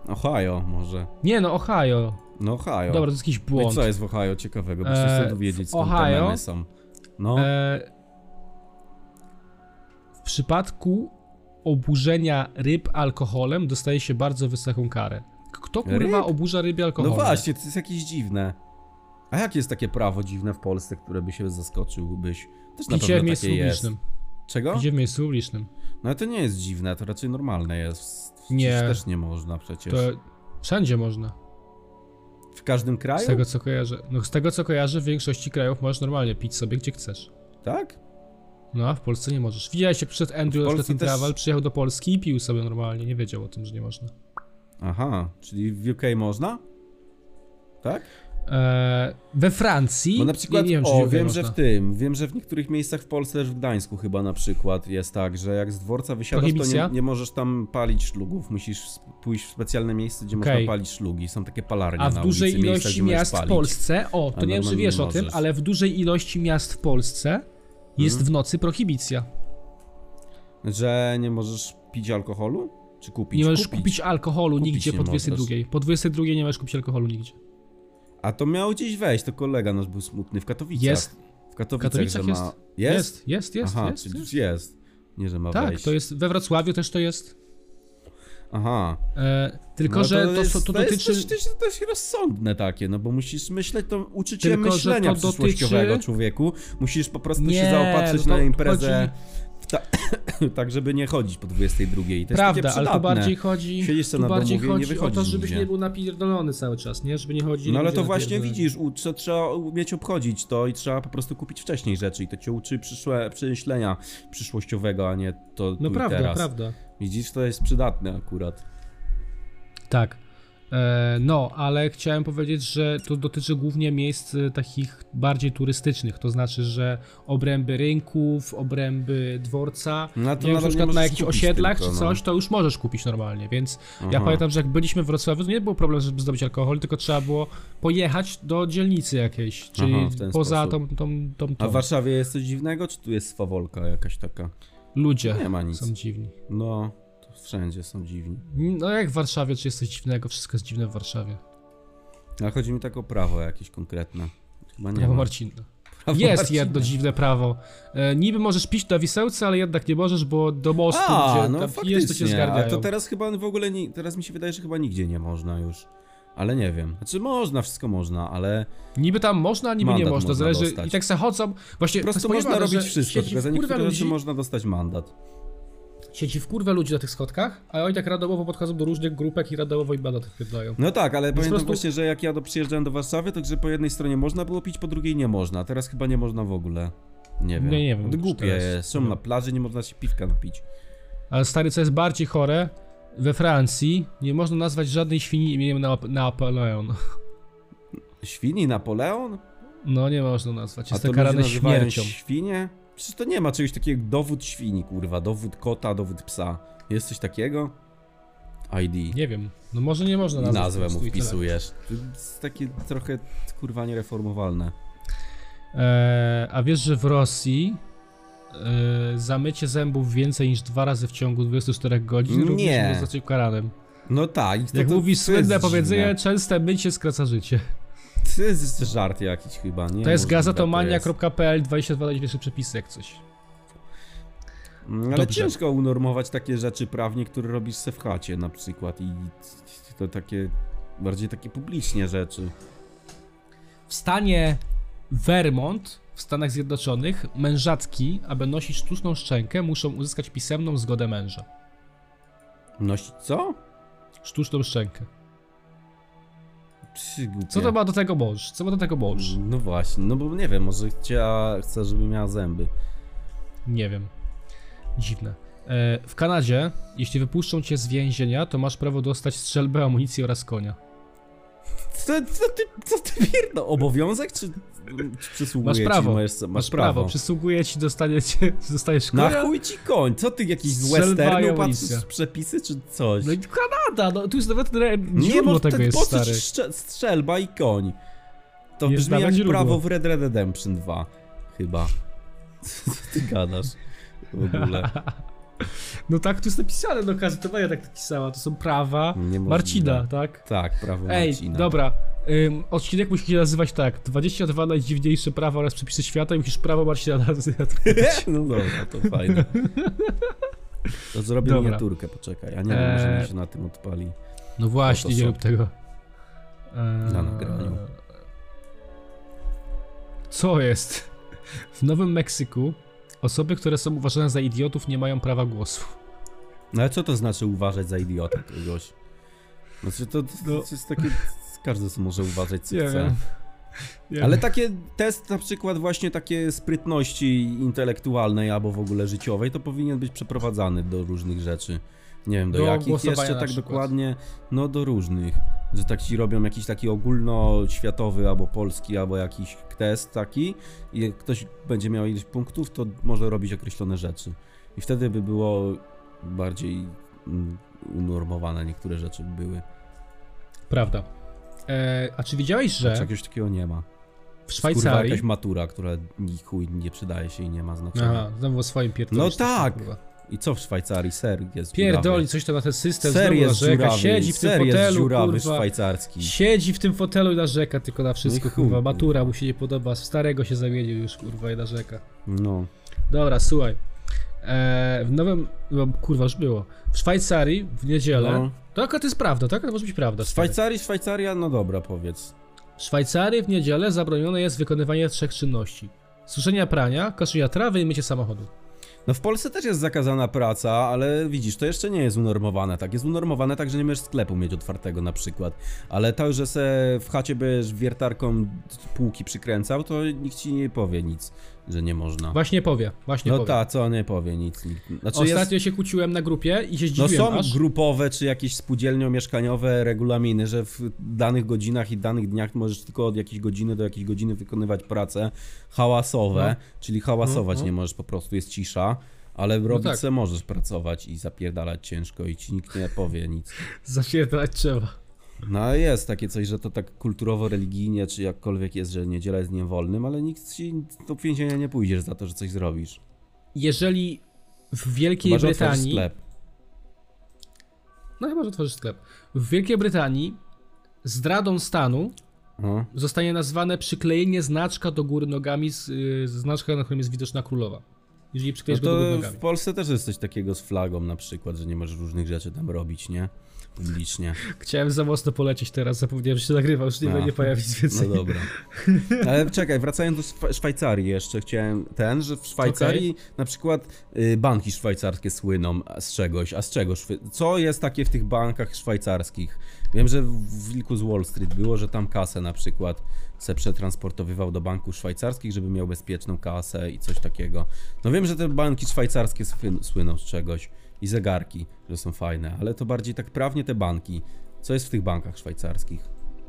[SPEAKER 1] Ohio może.
[SPEAKER 2] Nie, no Ohio.
[SPEAKER 1] No Ohio.
[SPEAKER 2] Dobra, to jest jakiś
[SPEAKER 1] no i
[SPEAKER 2] błąd.
[SPEAKER 1] co jest w Ohio ciekawego? Bo
[SPEAKER 2] Eee,
[SPEAKER 1] się chcę dowiedzieć
[SPEAKER 2] w
[SPEAKER 1] skąd te
[SPEAKER 2] Ohio?
[SPEAKER 1] memy są. No,
[SPEAKER 2] E, w przypadku oburzenia ryb alkoholem dostaje się bardzo wysoką karę. K- Kto kurwa
[SPEAKER 1] Ryb?
[SPEAKER 2] oburza ryby
[SPEAKER 1] no
[SPEAKER 2] alkoholem?
[SPEAKER 1] właśnie, to jest jakieś dziwne. A jakie jest takie prawo dziwne w Polsce, które by się zaskoczyłbyś? Też na
[SPEAKER 2] Picie w
[SPEAKER 1] pewno
[SPEAKER 2] miejscu
[SPEAKER 1] takie jest.
[SPEAKER 2] publicznym.
[SPEAKER 1] Czego?
[SPEAKER 2] Picie w miejscu publicznym.
[SPEAKER 1] No ale to nie jest dziwne, to raczej normalne jest. Przecież
[SPEAKER 2] Nie.
[SPEAKER 1] też nie można przecież.
[SPEAKER 2] To wszędzie można.
[SPEAKER 1] W każdym
[SPEAKER 2] Z
[SPEAKER 1] kraju?
[SPEAKER 2] tego co kojarzę. No z tego co kojarzę, w większości krajów możesz normalnie pić sobie gdzie chcesz.
[SPEAKER 1] Tak?
[SPEAKER 2] No, a w Polsce nie możesz. Widziałeś, jak przed Andrew na ten Travel przyjechał do Polski i pił sobie normalnie, nie wiedział o tym, że nie można.
[SPEAKER 1] Aha, czyli w UK można? Tak?
[SPEAKER 2] Eee, we Francji.
[SPEAKER 1] Bo na przykład, nie, nie wiem, o, wiem, że w tym, wiem, że w niektórych miejscach w Polsce, też w Gdańsku chyba na przykład jest tak, że jak z dworca wysiadasz, to nie, nie możesz tam palić szlugów, musisz pójść w specjalne miejsce, gdzie
[SPEAKER 2] Okej.
[SPEAKER 1] można palić szlugi, są takie palarnie
[SPEAKER 2] A
[SPEAKER 1] na
[SPEAKER 2] w dużej
[SPEAKER 1] ulicy, miejsca,
[SPEAKER 2] ilości
[SPEAKER 1] gdzie możesz
[SPEAKER 2] miast w
[SPEAKER 1] palić.
[SPEAKER 2] Polsce, o,
[SPEAKER 1] A
[SPEAKER 2] to nie wiem, czy
[SPEAKER 1] normalnie
[SPEAKER 2] wiesz
[SPEAKER 1] nie
[SPEAKER 2] o tym,
[SPEAKER 1] możesz. Mhm.
[SPEAKER 2] ale w dużej ilości miast w Polsce jest w nocy prohibicja.
[SPEAKER 1] Że nie możesz pić alkoholu? Czy kupić?
[SPEAKER 2] Nie możesz kupić, alkoholu
[SPEAKER 1] Kupić
[SPEAKER 2] nigdzie
[SPEAKER 1] nie
[SPEAKER 2] po
[SPEAKER 1] możesz.
[SPEAKER 2] 22. Po 22 nie możesz kupić alkoholu nigdzie.
[SPEAKER 1] A to miał gdzieś wejść, to kolega nasz był smutny w Katowicach.
[SPEAKER 2] Jest.
[SPEAKER 1] W Katowicach,
[SPEAKER 2] Katowicach
[SPEAKER 1] że ma...
[SPEAKER 2] jest. Jest, jest, jest,
[SPEAKER 1] Aha,
[SPEAKER 2] jest,
[SPEAKER 1] czyli
[SPEAKER 2] jest.
[SPEAKER 1] jest. Nie, że ma
[SPEAKER 2] Tak,
[SPEAKER 1] wejść.
[SPEAKER 2] to jest we Wrocławiu też to jest.
[SPEAKER 1] Aha.
[SPEAKER 2] E, tylko,
[SPEAKER 1] No
[SPEAKER 2] że to,
[SPEAKER 1] jest-
[SPEAKER 2] to, to
[SPEAKER 1] jest
[SPEAKER 2] dotyczy.
[SPEAKER 1] dość- dość, dość rozsądne takie, no bo musisz myśleć, to uczyć się
[SPEAKER 2] Tylko, że
[SPEAKER 1] myślenia
[SPEAKER 2] to dotyczy-
[SPEAKER 1] przyszłościowego człowieku. Musisz po prostu się
[SPEAKER 2] Nie,
[SPEAKER 1] zaopatrzyć
[SPEAKER 2] no to
[SPEAKER 1] na imprezę w ta... tak, żeby nie chodzić po 22. To jest
[SPEAKER 2] Prawda,
[SPEAKER 1] takie
[SPEAKER 2] ale
[SPEAKER 1] przydatne.
[SPEAKER 2] tu bardziej chodzi,
[SPEAKER 1] Siedzisz sobie
[SPEAKER 2] tu
[SPEAKER 1] na domu,
[SPEAKER 2] bardziej
[SPEAKER 1] mówię, nie
[SPEAKER 2] chodzi o
[SPEAKER 1] wychodzisz
[SPEAKER 2] to, żebyś
[SPEAKER 1] nigdzie.
[SPEAKER 2] nie był napierdolony cały czas, nie? Żeby nie chodzić.
[SPEAKER 1] No ale to właśnie widzisz, u, trze- trzeba umieć obchodzić to i trzeba po prostu kupić wcześniej rzeczy i to cię uczy przyszłe, przemyślenia przyszłościowego, a nie to
[SPEAKER 2] No
[SPEAKER 1] tu i
[SPEAKER 2] prawda,
[SPEAKER 1] teraz.
[SPEAKER 2] prawda.
[SPEAKER 1] Widzisz, to jest przydatne akurat.
[SPEAKER 2] Tak. E, No, ale chciałem powiedzieć, że to dotyczy głównie miejsc e, takich bardziej turystycznych, to znaczy, że obręby rynków, obręby dworca,
[SPEAKER 1] No to
[SPEAKER 2] nie wiem,
[SPEAKER 1] nadal nie
[SPEAKER 2] na przykład na
[SPEAKER 1] możesz
[SPEAKER 2] jakichś
[SPEAKER 1] kupić
[SPEAKER 2] osiedlach
[SPEAKER 1] tylko,
[SPEAKER 2] czy
[SPEAKER 1] no.
[SPEAKER 2] coś, to już możesz kupić normalnie, więc ja
[SPEAKER 1] Aha.
[SPEAKER 2] pamiętam, że jak byliśmy w Wrocławiu, to nie był problem, żeby zdobyć alkohol, tylko trzeba było pojechać do dzielnicy jakiejś, czyli
[SPEAKER 1] Aha, w ten
[SPEAKER 2] poza tą,
[SPEAKER 1] sposób.
[SPEAKER 2] tą, tą, tą,
[SPEAKER 1] A w Warszawie jest coś dziwnego, czy tu jest swawolka jakaś taka?
[SPEAKER 2] Ludzie
[SPEAKER 1] Nie ma nic.
[SPEAKER 2] są dziwni.
[SPEAKER 1] No, to wszędzie są dziwni.
[SPEAKER 2] No jak w Warszawie, czy jest coś dziwnego? Wszystko jest dziwne w Warszawie.
[SPEAKER 1] Ale chodzi mi tak o prawo jakieś konkretne. Chyba nie
[SPEAKER 2] Prawo
[SPEAKER 1] ma.
[SPEAKER 2] Marcinka. jest
[SPEAKER 1] Marcina.
[SPEAKER 2] jedno dziwne prawo. E, niby możesz pić na Wisełce, ale jednak nie możesz, bo do mostu,
[SPEAKER 1] A,
[SPEAKER 2] gdzie
[SPEAKER 1] no
[SPEAKER 2] tam pijesz, to cię
[SPEAKER 1] faktycznie, a
[SPEAKER 2] zgarniają.
[SPEAKER 1] to teraz chyba w ogóle, nie, teraz mi się wydaje, że chyba nigdzie nie można już. Ale nie wiem. Znaczy można, wszystko można, ale
[SPEAKER 2] Niby tam można, niby nie
[SPEAKER 1] Mandat
[SPEAKER 2] można,
[SPEAKER 1] można
[SPEAKER 2] zależy.
[SPEAKER 1] dostać.
[SPEAKER 2] I tak se chodzą. Właśnie
[SPEAKER 1] po prostu
[SPEAKER 2] to jest
[SPEAKER 1] można
[SPEAKER 2] pojebane,
[SPEAKER 1] robić
[SPEAKER 2] że
[SPEAKER 1] wszystko,
[SPEAKER 2] siedzi
[SPEAKER 1] tylko
[SPEAKER 2] w
[SPEAKER 1] za
[SPEAKER 2] kurwę
[SPEAKER 1] niektóre rzeczy
[SPEAKER 2] ludzi,
[SPEAKER 1] można dostać mandat.
[SPEAKER 2] Siedzi w kurwę ludzi na tych schodkach, a oni tak randomowo podchodzą do różnych grupek i randomowo im bada tych wydają.
[SPEAKER 1] No tak, ale pamiętam
[SPEAKER 2] prostu-
[SPEAKER 1] właśnie, że jak ja do, przyjeżdżałem do Warszawy, to że po jednej stronie można było pić, po drugiej nie można. Teraz chyba nie można w ogóle. Nie wiem.
[SPEAKER 2] Nie, nie wiem,
[SPEAKER 1] To Głupie
[SPEAKER 2] czy teraz- No.
[SPEAKER 1] jest. Są na plaży, nie można się piwka napić.
[SPEAKER 2] Ale stary, co jest bardziej chore, we Francji nie można nazwać żadnej świni imieniem Nap- Napoleon.
[SPEAKER 1] Świni, Napoleon?
[SPEAKER 2] No nie można nazwać,
[SPEAKER 1] A
[SPEAKER 2] jest
[SPEAKER 1] to
[SPEAKER 2] to
[SPEAKER 1] ludzie
[SPEAKER 2] karane
[SPEAKER 1] nazywają
[SPEAKER 2] śmiercią.
[SPEAKER 1] świnie? Przecież to nie ma czegoś takiego jak dowód świni, kurwa. Dowód kota, dowód psa. Jest coś takiego? ID.
[SPEAKER 2] Nie wiem, no może nie można
[SPEAKER 1] I
[SPEAKER 2] nazwać.
[SPEAKER 1] nazwę
[SPEAKER 2] po
[SPEAKER 1] mu
[SPEAKER 2] prostu i tyle.
[SPEAKER 1] wpisujesz. To jest takie trochę, kurwa, niereformowalne.
[SPEAKER 2] Eee, a wiesz, że w Rosji eee, zamycie zębów więcej niż dwa razy w ciągu 24 godzin
[SPEAKER 1] Nie.
[SPEAKER 2] również nie zostać karany.
[SPEAKER 1] No tak. i To,
[SPEAKER 2] Jak
[SPEAKER 1] to,
[SPEAKER 2] mówi
[SPEAKER 1] to
[SPEAKER 2] słynne
[SPEAKER 1] jest
[SPEAKER 2] powiedzenie,
[SPEAKER 1] dziwne.
[SPEAKER 2] częste mycie skraca życie.
[SPEAKER 1] To jest żart jakiś chyba, nie?
[SPEAKER 2] to jest
[SPEAKER 1] Możliwe, jest.
[SPEAKER 2] gazetomania.pl 22 najświeższe przepisy jak coś.
[SPEAKER 1] Mm, Ale
[SPEAKER 2] Dobrze.
[SPEAKER 1] ciężko unormować takie rzeczy prawnie, które robisz se w chacie na przykład i to takie bardziej takie publicznie rzeczy.
[SPEAKER 2] W stanie Vermont w Stanach Zjednoczonych mężatki, aby nosić sztuczną szczękę, muszą uzyskać pisemną zgodę męża.
[SPEAKER 1] Nosić No co?
[SPEAKER 2] Sztuczną szczękę.
[SPEAKER 1] Psy, głupie.
[SPEAKER 2] Co to ma do tego mąż? Co ma do tego mąż?
[SPEAKER 1] No właśnie, no bo nie wiem, może chciała, chce, żeby miała zęby.
[SPEAKER 2] Nie wiem. Dziwne. E, w Kanadzie, jeśli wypuszczą cię z więzienia, to masz prawo dostać strzelbę, amunicję oraz konia.
[SPEAKER 1] Co, co ty, co ty pierdo, obowiązek czy, czy przysługuje
[SPEAKER 2] Masz prawo.
[SPEAKER 1] Ci, moje- masz, prawo.
[SPEAKER 2] Przysługuje ci, dostanie cię, dostajesz
[SPEAKER 1] Na
[SPEAKER 2] konia.
[SPEAKER 1] chuj ci koń, co ty, jakiś z
[SPEAKER 2] Strzelba i
[SPEAKER 1] westernu
[SPEAKER 2] amunicja.
[SPEAKER 1] patrzysz przepisy czy coś?
[SPEAKER 2] No i Kanada, no tu jest nawet
[SPEAKER 1] nie,
[SPEAKER 2] źródło
[SPEAKER 1] bo
[SPEAKER 2] tego
[SPEAKER 1] te-
[SPEAKER 2] jest
[SPEAKER 1] po co ci
[SPEAKER 2] stary.
[SPEAKER 1] strze- strzelba i koń? To
[SPEAKER 2] Jest
[SPEAKER 1] brzmi
[SPEAKER 2] nawet
[SPEAKER 1] jak
[SPEAKER 2] źródło.
[SPEAKER 1] prawo w Red Red Redemption 2, chyba. Co ty gadasz w ogóle?
[SPEAKER 2] No tak, tu jest napisane, no gazetowania tak napisała, to są prawa
[SPEAKER 1] Niemożliwe.
[SPEAKER 2] Marcina, tak?
[SPEAKER 1] Tak, prawo
[SPEAKER 2] Ej,
[SPEAKER 1] Marcina.
[SPEAKER 2] dobra. Ym, odcinek musi się nazywać tak, 22 najdziwniejsze prawa oraz przepisy świata i musisz prawo Marcina nazywać.
[SPEAKER 1] No dobra, to fajne. To zrobię
[SPEAKER 2] Dobra.
[SPEAKER 1] miniaturkę, poczekaj. A nie wiem, może
[SPEAKER 2] Eee.
[SPEAKER 1] mi się na tym odpali.
[SPEAKER 2] No właśnie, nie
[SPEAKER 1] Photoshop.
[SPEAKER 2] rób tego. Eee,
[SPEAKER 1] Na nagraniu.
[SPEAKER 2] Co jest? W Nowym Meksyku osoby, które są uważane za idiotów, nie mają prawa głosu.
[SPEAKER 1] No ale co to znaczy uważać za idiotę No kogoś? Znaczy to, to, to jest takie... Każdy sobie może uważać co
[SPEAKER 2] No. Nie
[SPEAKER 1] chce.
[SPEAKER 2] wiem.
[SPEAKER 1] Nie Ale wiem. takie test na przykład właśnie takie sprytności intelektualnej albo w ogóle życiowej to powinien być przeprowadzany do różnych rzeczy. Nie wiem do, do jakich jeszcze tak dokładnie, no do różnych. Że tak ci robią jakiś taki ogólnoświatowy albo polski albo jakiś test taki i jak ktoś będzie miał ileś punktów, to może robić określone rzeczy. I wtedy by było bardziej mm, unormowane niektóre rzeczy były.
[SPEAKER 2] Prawda. Eee, a czy widziałeś, że. Znaczy,
[SPEAKER 1] jakiegoś takiego nie ma.
[SPEAKER 2] W Szwajcarii. Kurwa,
[SPEAKER 1] jakaś matura, która ni chuj nie przydaje się i nie ma znaczenia.
[SPEAKER 2] Aha, znowu o swoim pierdoleniu.
[SPEAKER 1] No tak! Kurwa. I co w Szwajcarii? Ser jest
[SPEAKER 2] Pierdoli coś tam na ten system. Ser znowu jest narzeka, dziurawy. siedzi w tym
[SPEAKER 1] ser
[SPEAKER 2] fotelu, jest
[SPEAKER 1] dziurawy
[SPEAKER 2] kurwa,
[SPEAKER 1] szwajcarski.
[SPEAKER 2] Siedzi w tym fotelu i narzeka tylko na wszystko, chuj, kurwa. Matura mu się nie podoba, starego się zamienił już, kurwa, i narzeka.
[SPEAKER 1] No.
[SPEAKER 2] Dobra, słuchaj. Eee, w nowym, no, kurwa, już było. W Szwajcarii w niedzielę. No. To akurat jest prawda, to akurat może być prawda.
[SPEAKER 1] W Szwajcarii, Szwajcaria, no dobra, powiedz.
[SPEAKER 2] W Szwajcarii w niedzielę zabronione jest wykonywanie trzech czynności: suszenia prania, koszenia trawy i mycie samochodu.
[SPEAKER 1] No w Polsce też jest zakazana praca, ale widzisz, to jeszcze nie jest unormowane, tak? Jest unormowane tak, że nie możesz sklepu mieć otwartego na przykład, ale to, że se w chacie będziesz wiertarką półki przykręcał, to nikt ci nie powie nic, że nie można.
[SPEAKER 2] Właśnie powie, właśnie
[SPEAKER 1] no
[SPEAKER 2] powie.
[SPEAKER 1] ta, co nie powie nic. nikt.
[SPEAKER 2] Znaczy Ostatnio jest... się kłóciłem na grupie i się zdziwiłem
[SPEAKER 1] No są
[SPEAKER 2] aż.
[SPEAKER 1] grupowe czy jakieś spółdzielnio-mieszkaniowe regulaminy, że w danych godzinach i danych dniach możesz tylko od jakiejś godziny do jakiejś godziny wykonywać prace hałasowe, no. czyli hałasować no, no. nie możesz, po prostu jest cisza ale w robice no tak. możesz pracować i zapierdalać ciężko i ci nikt nie powie nic.
[SPEAKER 2] zapierdalać trzeba.
[SPEAKER 1] No ale jest takie coś, że to tak kulturowo-religijnie, czy jakkolwiek jest, że niedziela jest dniem wolnym, ale nikt ci do więzienia nie pójdziesz za to, że coś zrobisz.
[SPEAKER 2] Jeżeli w Wielkiej chyba, Brytanii...
[SPEAKER 1] sklep.
[SPEAKER 2] No chyba, że otworzysz sklep. W Wielkiej Brytanii zdradą stanu no. zostanie nazwane przyklejenie znaczka do góry nogami z, z znaczka, na którym jest widoczna królowa jeżeli przykleisz no to
[SPEAKER 1] W Polsce też jest coś takiego z flagą na przykład, że nie możesz różnych rzeczy tam robić, nie? Publicznie.
[SPEAKER 2] Chciałem za mocno polecieć teraz, zapomniałem, że się nagrywał, już nie będzie pojawić więcej.
[SPEAKER 1] No dobra. Ale czekaj, wracając do Szwajcarii jeszcze, chciałem ten, że w Szwajcarii okay. na przykład y, banki szwajcarskie słyną z czegoś, a z czego? Co jest takie w tych bankach szwajcarskich? Wiem, że w Wilku z Wall Street było, że tam kasę na przykład se przetransportowywał do banków szwajcarskich, żeby miał bezpieczną kasę i coś takiego. No wiem, że te banki szwajcarskie słyną z czegoś i zegarki, że są fajne, ale to bardziej tak prawnie te banki. Co jest w tych bankach szwajcarskich?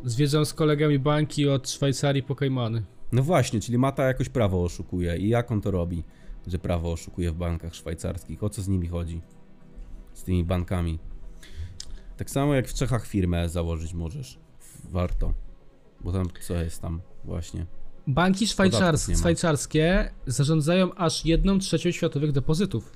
[SPEAKER 2] Zwiedzam z kolegami banki od Szwajcarii po Kajmany.
[SPEAKER 1] No właśnie, czyli Mata jakoś prawo oszukuje i jak on to robi, że prawo oszukuje w bankach szwajcarskich? O co z nimi chodzi? Z tymi bankami. Tak samo jak w Czechach firmę założyć możesz. Warto. Bo tam co jest tam właśnie.
[SPEAKER 2] Banki szwajcars- szwajcarskie zarządzają aż jedną trzecią światowych depozytów.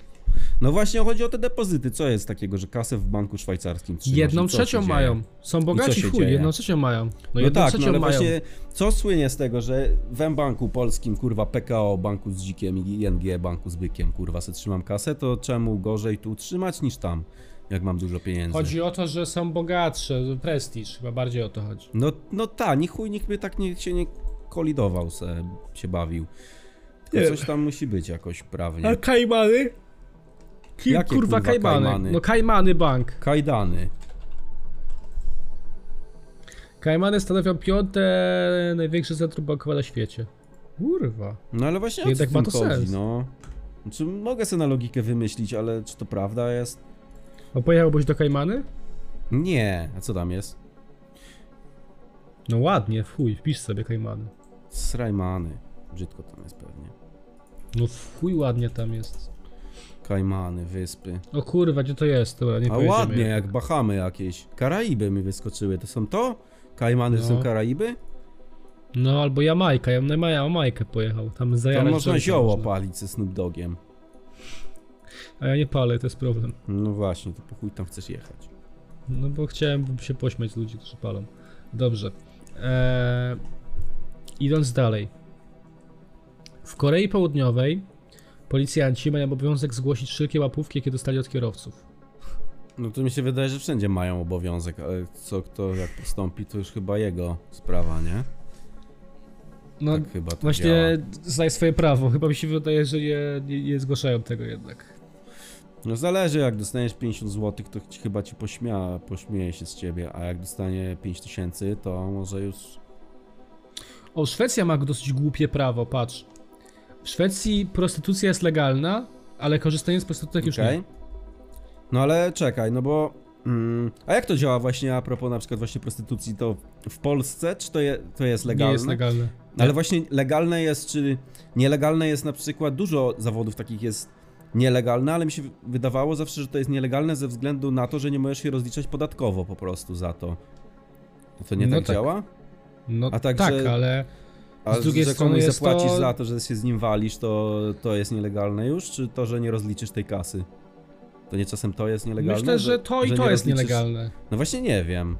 [SPEAKER 1] No właśnie chodzi o te depozyty. Co jest takiego, że kasę w banku szwajcarskim trzymasz?
[SPEAKER 2] Jedną trzecią mają. Są bogaci chuj, dzieje? jedną trzecią mają. No,
[SPEAKER 1] no
[SPEAKER 2] jedną
[SPEAKER 1] tak,
[SPEAKER 2] trzecią
[SPEAKER 1] no ale
[SPEAKER 2] mają.
[SPEAKER 1] właśnie co słynie z tego, że w banku polskim, kurwa, PKO, banku z dzikiem i ING, banku z bykiem, kurwa, se trzymam kasę, to czemu gorzej tu trzymać niż tam? jak mam dużo pieniędzy.
[SPEAKER 2] Chodzi o to, że są bogatsze, prestiż, chyba bardziej o to chodzi.
[SPEAKER 1] No, no ta, ni chuj, nikt mnie tak nie, się nie kolidował, se, się bawił. Tylko nie. coś tam musi być jakoś prawnie.
[SPEAKER 2] A kajmany? Kim, Jakie, kurwa, kurwa kajmany? kajmany? No kajmany bank.
[SPEAKER 1] Kajdany.
[SPEAKER 2] Kajmany stanowią piąte największe centrum bankowe na świecie. Kurwa.
[SPEAKER 1] No ale właśnie
[SPEAKER 2] Jednak o co
[SPEAKER 1] ma
[SPEAKER 2] to chodzi, sens.
[SPEAKER 1] no. Znaczy, mogę sobie na logikę wymyślić, ale czy to prawda jest?
[SPEAKER 2] A pojechałbyś do Kajmany?
[SPEAKER 1] Nie, a co tam jest?
[SPEAKER 2] No ładnie, fuj, wpisz sobie Kajmany.
[SPEAKER 1] Srajmany, brzydko tam jest pewnie.
[SPEAKER 2] No fuj ładnie tam jest.
[SPEAKER 1] Kajmany, wyspy.
[SPEAKER 2] O kurwa, gdzie to jest? Dobra, nie
[SPEAKER 1] A ładnie, jak. jak Bahamy jakieś. Karaiby mi wyskoczyły, to są to? Kajmany no. to są Karaiby?
[SPEAKER 2] No albo Jamajka, ja bym na Jamajkę pojechał, tam zajarać
[SPEAKER 1] Tam można zioło można. palić ze Snoop Dogiem.
[SPEAKER 2] A ja nie palę, to jest problem.
[SPEAKER 1] No właśnie, to po chuj tam chcesz jechać.
[SPEAKER 2] No bo chciałem się pośmiać ludzi, którzy palą. Dobrze. Eee, idąc dalej. W Korei Południowej policjanci mają obowiązek zgłosić wszelkie łapówki, jakie dostali od kierowców.
[SPEAKER 1] No to mi się wydaje, że wszędzie mają obowiązek, ale co kto jak postąpi, to już chyba jego sprawa, nie?
[SPEAKER 2] No tak chyba to właśnie działa. znaj swoje prawo. Chyba mi się wydaje, że nie, nie, nie zgłaszają tego jednak.
[SPEAKER 1] No zależy, jak dostaniesz 50 zł, to ci, chyba ci pośmia, pośmieje się z ciebie, a jak dostanie 5000, to może już.
[SPEAKER 2] O, Szwecja ma dosyć głupie prawo, patrz. W Szwecji prostytucja jest legalna, ale korzystanie z prostytutek już
[SPEAKER 1] Okej.
[SPEAKER 2] nie.
[SPEAKER 1] No ale czekaj, no bo. Mm, a jak to działa właśnie a propos na przykład właśnie prostytucji, to w Polsce, czy to, je, to jest legalne?
[SPEAKER 2] Nie jest legalne.
[SPEAKER 1] No ale właśnie legalne jest, czy nielegalne jest na przykład dużo zawodów takich jest nielegalne, ale mi się wydawało zawsze, że to jest nielegalne ze względu na to, że nie możesz się rozliczać podatkowo po prostu za to. To nie
[SPEAKER 2] No
[SPEAKER 1] tak,
[SPEAKER 2] tak.
[SPEAKER 1] działa?
[SPEAKER 2] No
[SPEAKER 1] A tak,
[SPEAKER 2] tak,
[SPEAKER 1] że-
[SPEAKER 2] ale
[SPEAKER 1] A
[SPEAKER 2] Z drugiej
[SPEAKER 1] że
[SPEAKER 2] strony
[SPEAKER 1] komuś
[SPEAKER 2] jest
[SPEAKER 1] zapłacisz
[SPEAKER 2] to-
[SPEAKER 1] za to, że się z nim walisz, to, to jest nielegalne już, czy to, że nie rozliczysz tej kasy? To nie czasem to jest nielegalne?
[SPEAKER 2] myślę, że to i
[SPEAKER 1] że
[SPEAKER 2] to
[SPEAKER 1] nie
[SPEAKER 2] jest
[SPEAKER 1] rozliczysz-
[SPEAKER 2] nielegalne.
[SPEAKER 1] No właśnie nie wiem.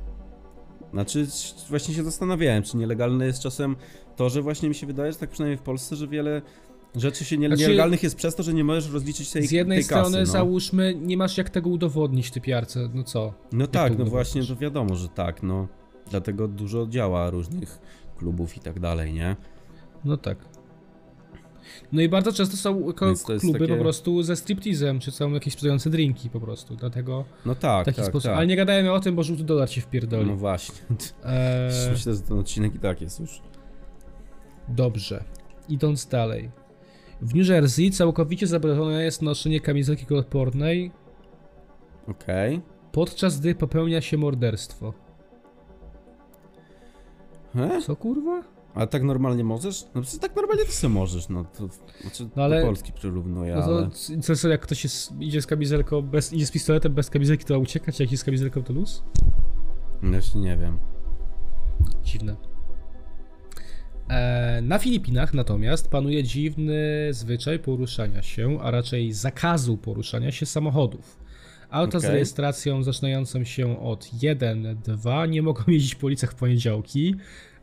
[SPEAKER 1] Znaczy, c- właśnie się zastanawiałem, czy nielegalne jest czasem to, że właśnie mi się wydaje, że tak przynajmniej w Polsce, że wiele rzeczy się nie,
[SPEAKER 2] Znaczy-
[SPEAKER 1] nielegalnych jest przez to, że nie możesz rozliczyć tej,
[SPEAKER 2] Z jednej
[SPEAKER 1] tej
[SPEAKER 2] strony
[SPEAKER 1] kasy. No,
[SPEAKER 2] załóżmy, nie masz jak tego udowodnić typiarce, no co?
[SPEAKER 1] no tak, no
[SPEAKER 2] udowodnisz?
[SPEAKER 1] właśnie, to wiadomo, że tak, no. Dlatego dużo działa różnych klubów i tak dalej, nie?
[SPEAKER 2] No tak. No i bardzo często są ko-
[SPEAKER 1] Więc to jest
[SPEAKER 2] kluby
[SPEAKER 1] takie-
[SPEAKER 2] po prostu ze striptizem, czy są jakieś sprzedające drinki po prostu, dlatego
[SPEAKER 1] No tak,
[SPEAKER 2] w taki
[SPEAKER 1] tak,
[SPEAKER 2] sposób.
[SPEAKER 1] tak.
[SPEAKER 2] Ale nie gadajmy o tym, bo żółty dolar się wpierdoli.
[SPEAKER 1] No właśnie.
[SPEAKER 2] Eee,
[SPEAKER 1] Myślę, że ten odcinek i tak jest już.
[SPEAKER 2] dobrze, idąc dalej. W New Jersey całkowicie zabronione jest noszenie kamizelki kolorpornej,
[SPEAKER 1] Okej.
[SPEAKER 2] podczas gdy popełnia się morderstwo.
[SPEAKER 1] E?
[SPEAKER 2] Co kurwa?
[SPEAKER 1] A tak normalnie możesz? No przecież tak normalnie też sobie możesz, no to znaczy
[SPEAKER 2] No ale-
[SPEAKER 1] do Polski przyrównuję,
[SPEAKER 2] No to
[SPEAKER 1] ale...
[SPEAKER 2] c- co, co, jak ktoś jest, idzie z kamizelką, bez, idzie z pistoletem bez kamizelki, to uciekać, a jak jest z kamizelką, to luz?
[SPEAKER 1] No Jeszcze nie wiem.
[SPEAKER 2] Dziwne. E, na Filipinach natomiast panuje dziwny zwyczaj poruszania się, a raczej zakazu poruszania się samochodów. Auta z
[SPEAKER 1] Okej.
[SPEAKER 2] rejestracją zaczynającą się od 1-2 nie mogą jeździć po ulicach w poniedziałki,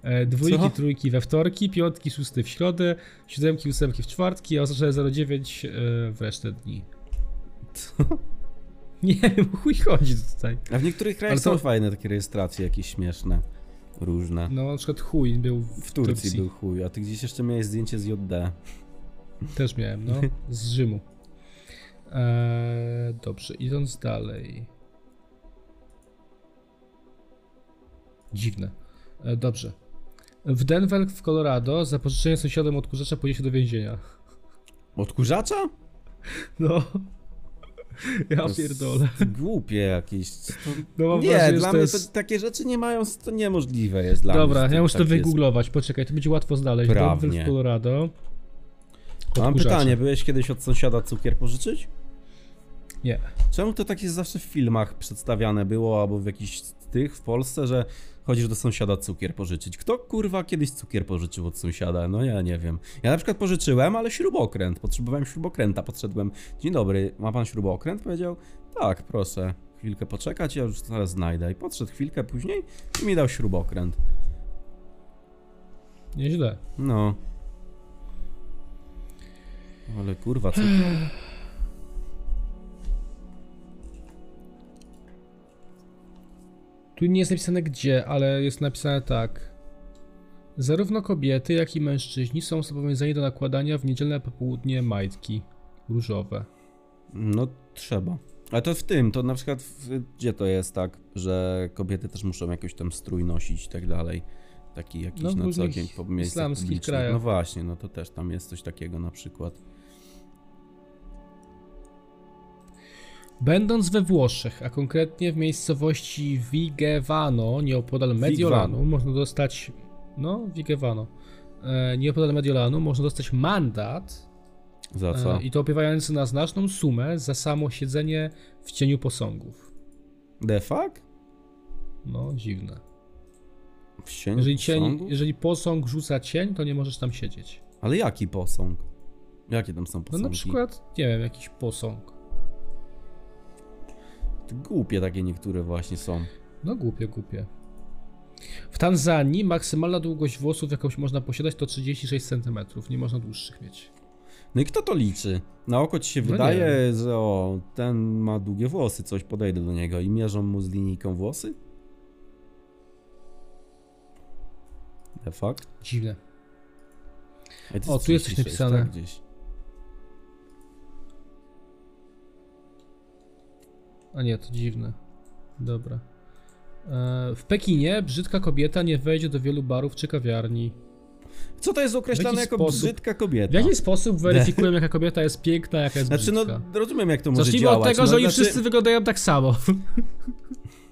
[SPEAKER 2] e, dwójki,
[SPEAKER 1] Co?
[SPEAKER 2] trójki we wtorki, piątki, szósty w środę, siódemki, ósemki w czwartki, a oznaczone 09 e, w resztę dni. Nie wiem, o chuj chodzi tutaj.
[SPEAKER 1] A w niektórych krajach
[SPEAKER 2] Ale to-
[SPEAKER 1] są fajne takie rejestracje jakieś śmieszne, różne.
[SPEAKER 2] No na przykład chuj był w,
[SPEAKER 1] W Turcji, był chuj, a ty gdzieś jeszcze miałeś zdjęcie z JD.
[SPEAKER 2] Też miałem, no. Z Rzymu. Eee, dobrze, idąc dalej. Dziwne. E, dobrze. W Denver w Colorado za pożyczenie sąsiadom odkurzacza pójdzie się do więzienia.
[SPEAKER 1] Odkurzacza?
[SPEAKER 2] No. Ja
[SPEAKER 1] To jest
[SPEAKER 2] pierdolę.
[SPEAKER 1] Głupie jakieś. To...
[SPEAKER 2] No mam
[SPEAKER 1] nie,
[SPEAKER 2] wrażenie,
[SPEAKER 1] dla
[SPEAKER 2] że
[SPEAKER 1] mnie
[SPEAKER 2] to
[SPEAKER 1] to,
[SPEAKER 2] jest...
[SPEAKER 1] takie rzeczy nie mają, to niemożliwe jest dla mnie.
[SPEAKER 2] Dobra,
[SPEAKER 1] że
[SPEAKER 2] ja muszę to
[SPEAKER 1] tak jest.
[SPEAKER 2] wygooglować. Poczekaj, to będzie łatwo znaleźć.
[SPEAKER 1] Prawnie.
[SPEAKER 2] Denver w Colorado.
[SPEAKER 1] Mam
[SPEAKER 2] Odkurzacze.
[SPEAKER 1] pytanie, byłeś kiedyś od sąsiada cukier pożyczyć?
[SPEAKER 2] Nie.
[SPEAKER 1] Czemu to tak jest zawsze w filmach przedstawiane było, albo w jakichś z tych w Polsce, że chodzisz do sąsiada cukier pożyczyć? Kto kurwa kiedyś cukier pożyczył od sąsiada? No ja nie wiem. Ja na przykład pożyczyłem, ale śrubokręt. Potrzebowałem śrubokręta. Podszedłem. Dzień dobry, ma pan śrubokręt? Powiedział, tak, proszę. Chwilkę poczekać, ja już zaraz znajdę. I podszedł chwilkę później i mi dał śrubokręt.
[SPEAKER 2] Nieźle.
[SPEAKER 1] No. Ale kurwa, cukier.
[SPEAKER 2] Tu nie jest napisane gdzie, ale jest napisane tak. Zarówno kobiety, jak i mężczyźni są zobowiązani do nakładania w niedzielne popołudnie majtki różowe.
[SPEAKER 1] No trzeba. Ale to w tym, to na przykład w, gdzie to jest tak, że kobiety też muszą jakoś tam strój nosić i tak dalej. Taki jakiś
[SPEAKER 2] No, w
[SPEAKER 1] na co
[SPEAKER 2] różnych
[SPEAKER 1] dzień po miejscach
[SPEAKER 2] islamskich
[SPEAKER 1] publicznych.
[SPEAKER 2] krajach.
[SPEAKER 1] No właśnie, no to też tam jest coś takiego na przykład.
[SPEAKER 2] Będąc we Włoszech, a konkretnie w miejscowości Vigevano, nieopodal Mediolanu,
[SPEAKER 1] Vigevano.
[SPEAKER 2] można dostać. No, Vigevano. E, nieopodal Mediolanu można dostać mandat
[SPEAKER 1] Za co?
[SPEAKER 2] e, i to opiewający na znaczną sumę za samo siedzenie w cieniu posągów.
[SPEAKER 1] Defak?
[SPEAKER 2] No, dziwne.
[SPEAKER 1] W sieni
[SPEAKER 2] Jeżeli, cień,
[SPEAKER 1] posągu?
[SPEAKER 2] jeżeli posąg rzuca cień, to nie możesz tam siedzieć.
[SPEAKER 1] Ale jaki posąg? Jakie tam są
[SPEAKER 2] No
[SPEAKER 1] posągi?
[SPEAKER 2] na przykład, nie wiem, jakiś posąg.
[SPEAKER 1] Głupie takie niektóre właśnie są.
[SPEAKER 2] No głupie, głupie. W Tanzanii maksymalna długość włosów, jaką można posiadać, to 36 cm. Nie można dłuższych mieć.
[SPEAKER 1] No i kto to liczy? Na oko ci się
[SPEAKER 2] No nie
[SPEAKER 1] wydaje, że o, ten ma długie włosy, coś podejdę do niego i mierzą mu z linijką włosy? The fuck?
[SPEAKER 2] Dziwne.
[SPEAKER 1] Ej, to
[SPEAKER 2] O, tu jest coś
[SPEAKER 1] 36,
[SPEAKER 2] napisane.
[SPEAKER 1] Tak, gdzieś.
[SPEAKER 2] A nie, to dziwne. Dobra. E, W Pekinie brzydka kobieta nie wejdzie do wielu barów czy kawiarni.
[SPEAKER 1] Co to jest określane jako
[SPEAKER 2] sposób-
[SPEAKER 1] brzydka kobieta?
[SPEAKER 2] W jaki sposób weryfikują, jaka kobieta jest piękna, jaka jest
[SPEAKER 1] No. Znaczy,
[SPEAKER 2] brzydka?
[SPEAKER 1] no rozumiem, jak to może
[SPEAKER 2] Zacznijmy
[SPEAKER 1] działać.
[SPEAKER 2] od tego,
[SPEAKER 1] no,
[SPEAKER 2] że oni
[SPEAKER 1] znaczy,
[SPEAKER 2] wszyscy wyglądają tak samo.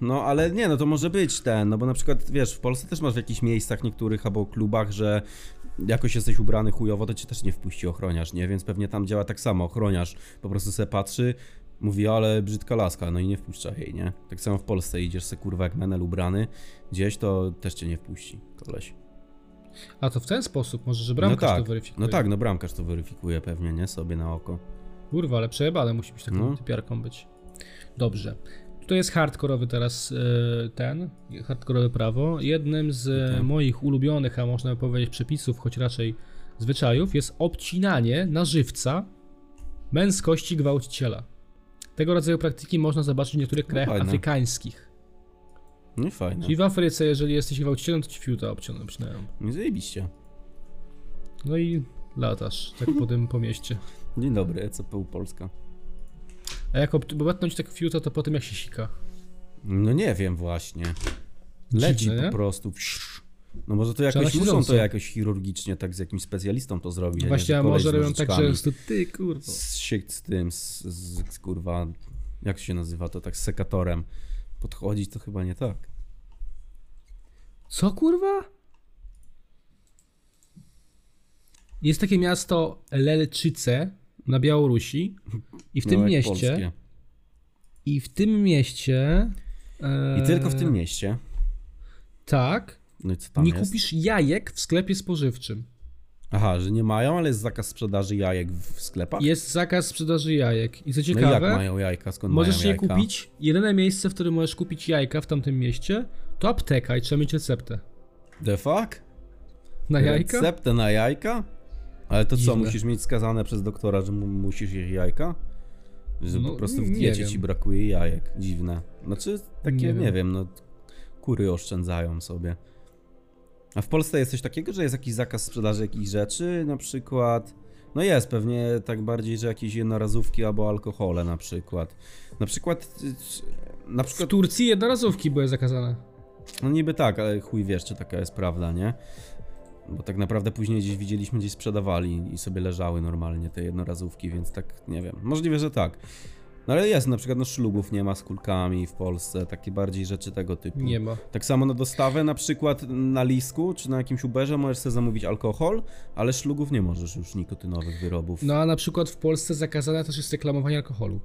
[SPEAKER 1] No, ale nie, no to może być ten, no bo na przykład, wiesz, w Polsce też masz w jakichś miejscach niektórych albo klubach, że jakoś jesteś ubrany chujowo, to cię też nie wpuści ochroniarz, nie? Więc pewnie tam działa tak samo, ochroniarz po prostu se patrzy, mówi, ale brzydka laska, no i nie wpuszcza jej, nie? Tak samo w Polsce idziesz se kurwa jak menel ubrany gdzieś, to też cię nie wpuści koleś.
[SPEAKER 2] A to w ten sposób, może, że
[SPEAKER 1] No
[SPEAKER 2] bramkarz
[SPEAKER 1] tak,
[SPEAKER 2] to weryfikuje.
[SPEAKER 1] no tak, no bramkarz to weryfikuje pewnie, nie? Sobie na oko.
[SPEAKER 2] Kurwa, ale przejebane musi być taką
[SPEAKER 1] No.
[SPEAKER 2] typiarką być. Dobrze. Tutaj jest hardkorowy teraz e, ten, hardkorowe prawo. Jednym z e,
[SPEAKER 1] Tak.
[SPEAKER 2] moich ulubionych, a można by powiedzieć przepisów, choć raczej zwyczajów, jest obcinanie na żywca męskości gwałciciela. Tego rodzaju praktyki można zobaczyć w niektórych krajach
[SPEAKER 1] No fajne.
[SPEAKER 2] afrykańskich.
[SPEAKER 1] No i fajnie,
[SPEAKER 2] Czyli w Afryce, jeżeli jesteś gwałcicielem, to ci fiuta obciną przynajmniej.
[SPEAKER 1] no i zajebiście.
[SPEAKER 2] No i latasz tak po tym po mieście.
[SPEAKER 1] Dzień dobry, E ECPU Polska.
[SPEAKER 2] A jak ob- bo batnąć tak fiuta, to po tym jak się sika.
[SPEAKER 1] No nie wiem właśnie. Leci
[SPEAKER 2] Dziwne, nie?
[SPEAKER 1] po prostu. Psz. No może to jakoś muszą
[SPEAKER 2] Przeraźliwiące.
[SPEAKER 1] to jakoś chirurgicznie, tak z jakimś specjalistą to zrobić. a nie,
[SPEAKER 2] Właśnie,
[SPEAKER 1] że
[SPEAKER 2] a
[SPEAKER 1] kolej
[SPEAKER 2] może
[SPEAKER 1] z
[SPEAKER 2] robią tak, że
[SPEAKER 1] nożyczkami.
[SPEAKER 2] jest to ty, kurwa.
[SPEAKER 1] Z, się, z tym, z, z, z kurwa, jak się nazywa to, tak z sekatorem podchodzić, to chyba nie tak.
[SPEAKER 2] Co, kurwa? Jest takie miasto Lelczyce na Białorusi i w
[SPEAKER 1] No,
[SPEAKER 2] tym
[SPEAKER 1] jak
[SPEAKER 2] mieście,
[SPEAKER 1] polskie.
[SPEAKER 2] i w tym mieście...
[SPEAKER 1] I
[SPEAKER 2] e,
[SPEAKER 1] tylko w tym mieście.
[SPEAKER 2] Tak,
[SPEAKER 1] No i co tam
[SPEAKER 2] nie
[SPEAKER 1] jest?
[SPEAKER 2] kupisz jajek w sklepie spożywczym.
[SPEAKER 1] Aha, że nie mają, ale jest zakaz sprzedaży jajek w w sklepach?
[SPEAKER 2] Jest zakaz sprzedaży jajek i co
[SPEAKER 1] Tak. no i jak
[SPEAKER 2] ciekawe...
[SPEAKER 1] mają jajka? Skąd
[SPEAKER 2] Możesz
[SPEAKER 1] mają
[SPEAKER 2] je
[SPEAKER 1] jajka?
[SPEAKER 2] kupić. Jedyne miejsce, w którym możesz kupić jajka w tamtym mieście, to apteka i trzeba mieć receptę.
[SPEAKER 1] The fuck?
[SPEAKER 2] Na jajka?
[SPEAKER 1] Receptę na jajka? Ale to co,
[SPEAKER 2] Dziwne.
[SPEAKER 1] musisz mieć skazane przez doktora, że mu, musisz jeść jajka? Że
[SPEAKER 2] No,
[SPEAKER 1] po prostu w
[SPEAKER 2] nie
[SPEAKER 1] diecie
[SPEAKER 2] wiem.
[SPEAKER 1] ci brakuje jajek. Dziwne. Znaczy, takie,
[SPEAKER 2] Nie
[SPEAKER 1] nie,
[SPEAKER 2] wiem.
[SPEAKER 1] wiem. no kury oszczędzają sobie. A w Polsce jest coś takiego, że jest jakiś zakaz sprzedaży jakichś rzeczy, na przykład... No jest, pewnie tak bardziej, że jakieś jednorazówki albo alkohole na przykład. Na przykład... y, Na
[SPEAKER 2] W
[SPEAKER 1] przykład
[SPEAKER 2] Turcji jednorazówki były zakazane.
[SPEAKER 1] no niby tak, ale chuj wiesz, czy taka jest prawda, nie? Bo tak naprawdę później gdzieś widzieliśmy, gdzieś sprzedawali i sobie leżały normalnie te jednorazówki, więc tak, nie wiem. Możliwe, że tak. No ale jest, na przykład no ślubów nie ma z kulkami w Polsce, takie bardziej rzeczy tego typu.
[SPEAKER 2] Nie ma.
[SPEAKER 1] Tak samo na dostawę na przykład na Lisku czy na jakimś Uberze możesz sobie zamówić alkohol, ale szlugów nie możesz już nikotynowych wyrobów.
[SPEAKER 2] No a na przykład w Polsce zakazane też jest reklamowanie alkoholu.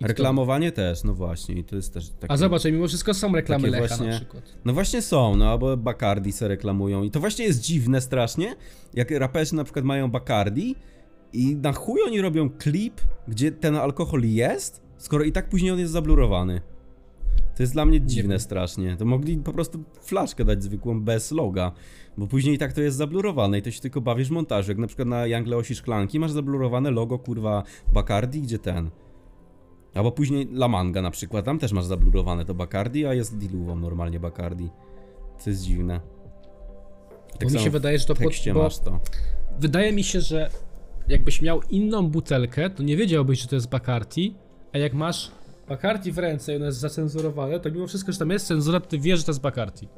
[SPEAKER 2] I
[SPEAKER 1] Reklamowanie też, no właśnie, i to jest też
[SPEAKER 2] to-
[SPEAKER 1] takie...
[SPEAKER 2] A zobacz, mimo wszystko są reklamy
[SPEAKER 1] Takie
[SPEAKER 2] Lecha na
[SPEAKER 1] właśnie-
[SPEAKER 2] przykład.
[SPEAKER 1] No właśnie są, no albo Bacardi se reklamują i to właśnie jest dziwne strasznie, jak raperzy na przykład mają Bacardi i na chuj oni robią klip, gdzie ten alkohol jest, skoro i tak później on jest zablurowany. To jest dla mnie dziwne strasznie. To mogli po prostu flaszkę dać zwykłą bez loga, bo później i tak to jest zablurowane i to się tylko bawisz w montażu. Jak na przykład na Jangle Osi Szklanki masz zablurowane logo kurwa Bacardi, gdzie ten. Albo później La Manga na przykład, tam też masz zablurowane to Bacardi, a jest diluwą normalnie Bacardi. To jest dziwne.
[SPEAKER 2] Bo mi
[SPEAKER 1] tak samo
[SPEAKER 2] się wydaje, że to
[SPEAKER 1] w
[SPEAKER 2] pod,
[SPEAKER 1] tekście
[SPEAKER 2] bo
[SPEAKER 1] masz to.
[SPEAKER 2] Wydaje mi się, że jakbyś miał inną butelkę, to nie wiedziałbyś, że to jest Bacardi, a jak masz Bacardi w ręce i ono jest zacenzurowane, to mimo wszystko, że tam jest cenzura, to ty wiesz, że to jest Bacardi.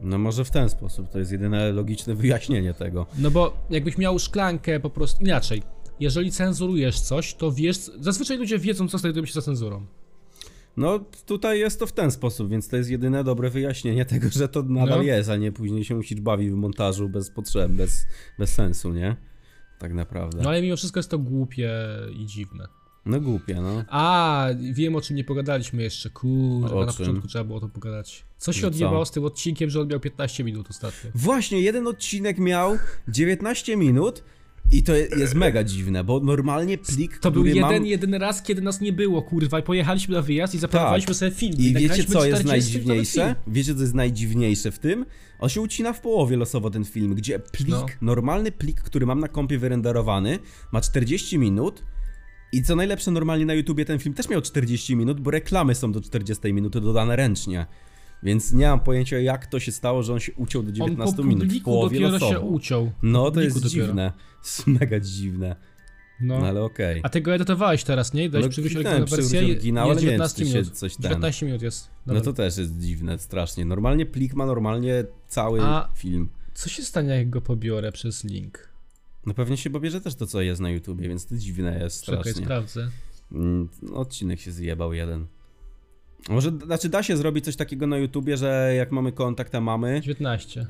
[SPEAKER 1] No może w ten sposób, to jest jedyne logiczne wyjaśnienie tego.
[SPEAKER 2] No bo jakbyś miał szklankę po prostu inaczej. Jeżeli cenzurujesz coś, to wiesz, zazwyczaj ludzie wiedzą, co znajduje się za cenzurą.
[SPEAKER 1] No tutaj jest to w ten sposób, więc to jest jedyne dobre wyjaśnienie tego, że to nadal
[SPEAKER 2] No.
[SPEAKER 1] jest, a nie później się musisz bawić w montażu bez potrzeb, bez, bez sensu, nie? Tak naprawdę.
[SPEAKER 2] No ale mimo wszystko jest to głupie i dziwne.
[SPEAKER 1] No głupie, no.
[SPEAKER 2] A, wiem o czym nie pogadaliśmy jeszcze.
[SPEAKER 1] O
[SPEAKER 2] Kurwa, na
[SPEAKER 1] czym?
[SPEAKER 2] początku trzeba było o tym pogadać. Co się
[SPEAKER 1] No co?
[SPEAKER 2] odjebało z tym odcinkiem, że on miał 15 minut ostatnio?
[SPEAKER 1] Właśnie, jeden odcinek miał 19 minut i to je- jest mega dziwne, bo normalnie plik,
[SPEAKER 2] To był
[SPEAKER 1] który
[SPEAKER 2] jeden,
[SPEAKER 1] mam...
[SPEAKER 2] jedyny raz, kiedy nas nie było, kurwa, i pojechaliśmy na wyjazd i zaplanowaliśmy sobie film.
[SPEAKER 1] Tak. I wiecie
[SPEAKER 2] nagraliśmy
[SPEAKER 1] co jest
[SPEAKER 2] 40
[SPEAKER 1] najdziwniejsze?
[SPEAKER 2] nawet
[SPEAKER 1] Wiecie co jest najdziwniejsze w tym? On się ucina w połowie losowo ten film, gdzie plik,
[SPEAKER 2] No.
[SPEAKER 1] normalny plik, który mam na kompie wyrenderowany, ma 40 minut. I co najlepsze, normalnie na YouTubie ten film też miał 40 minut, bo reklamy są do 40 minuty dodane ręcznie. Więc nie mam pojęcia jak to się stało, że on się uciął do
[SPEAKER 2] film.
[SPEAKER 1] 19
[SPEAKER 2] On po
[SPEAKER 1] minut w
[SPEAKER 2] publiku
[SPEAKER 1] połowie
[SPEAKER 2] dopiero
[SPEAKER 1] losowo.
[SPEAKER 2] się uciął.
[SPEAKER 1] no to
[SPEAKER 2] publiku
[SPEAKER 1] jest
[SPEAKER 2] dopiero.
[SPEAKER 1] dziwne. Jest mega dziwne.
[SPEAKER 2] No.
[SPEAKER 1] No ale okej.
[SPEAKER 2] A ty go edytowałeś teraz, nie? Dałeś
[SPEAKER 1] No,
[SPEAKER 2] przywrócić
[SPEAKER 1] kliknąłem
[SPEAKER 2] oryginalną wersję
[SPEAKER 1] przywróć
[SPEAKER 2] i-
[SPEAKER 1] oryginał, ale
[SPEAKER 2] jest
[SPEAKER 1] nie wiem,
[SPEAKER 2] 19
[SPEAKER 1] czy się
[SPEAKER 2] minut.
[SPEAKER 1] coś ten-
[SPEAKER 2] 19 minut jest.
[SPEAKER 1] No to też jest dziwne, strasznie. Normalnie plik ma normalnie cały
[SPEAKER 2] A-
[SPEAKER 1] film.
[SPEAKER 2] Co się stanie, jak go pobiorę przez link?
[SPEAKER 1] No pewnie się pobierze też to, co jest na YouTubie, więc to dziwne jest strasznie.
[SPEAKER 2] Czekaj, sprawdzę.
[SPEAKER 1] Mm, Odcinek się zjebał jeden. Może, znaczy da się zrobić coś takiego na YouTubie, że jak mamy kontakt, a mamy,
[SPEAKER 2] 19.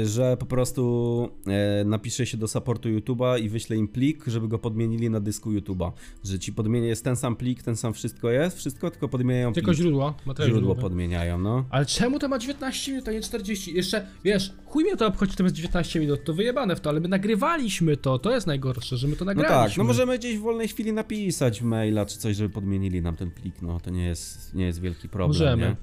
[SPEAKER 1] Yy, że po prostu yy, napisze się do supportu YouTube'a i wyśle im plik, żeby go podmienili na dysku YouTube'a. Że ci podmienię, jest ten sam plik, ten sam wszystko jest, wszystko, tylko podmieniają
[SPEAKER 2] Tylko
[SPEAKER 1] plik.
[SPEAKER 2] źródła, materiał
[SPEAKER 1] Źródło
[SPEAKER 2] źródłowy.
[SPEAKER 1] podmieniają, no.
[SPEAKER 2] Ale czemu to ma 19 minut, a nie 40? Jeszcze, wiesz, chuj mnie to obchodzi, to jest 19 minut, to wyjebane w to, ale my nagrywaliśmy to, to jest najgorsze, że my to
[SPEAKER 1] No
[SPEAKER 2] nagraliśmy.
[SPEAKER 1] tak, no możemy gdzieś w wolnej chwili napisać maila czy coś, żeby podmienili nam ten plik, no to nie jest, nie jest wielki problem,
[SPEAKER 2] Możemy.
[SPEAKER 1] nie?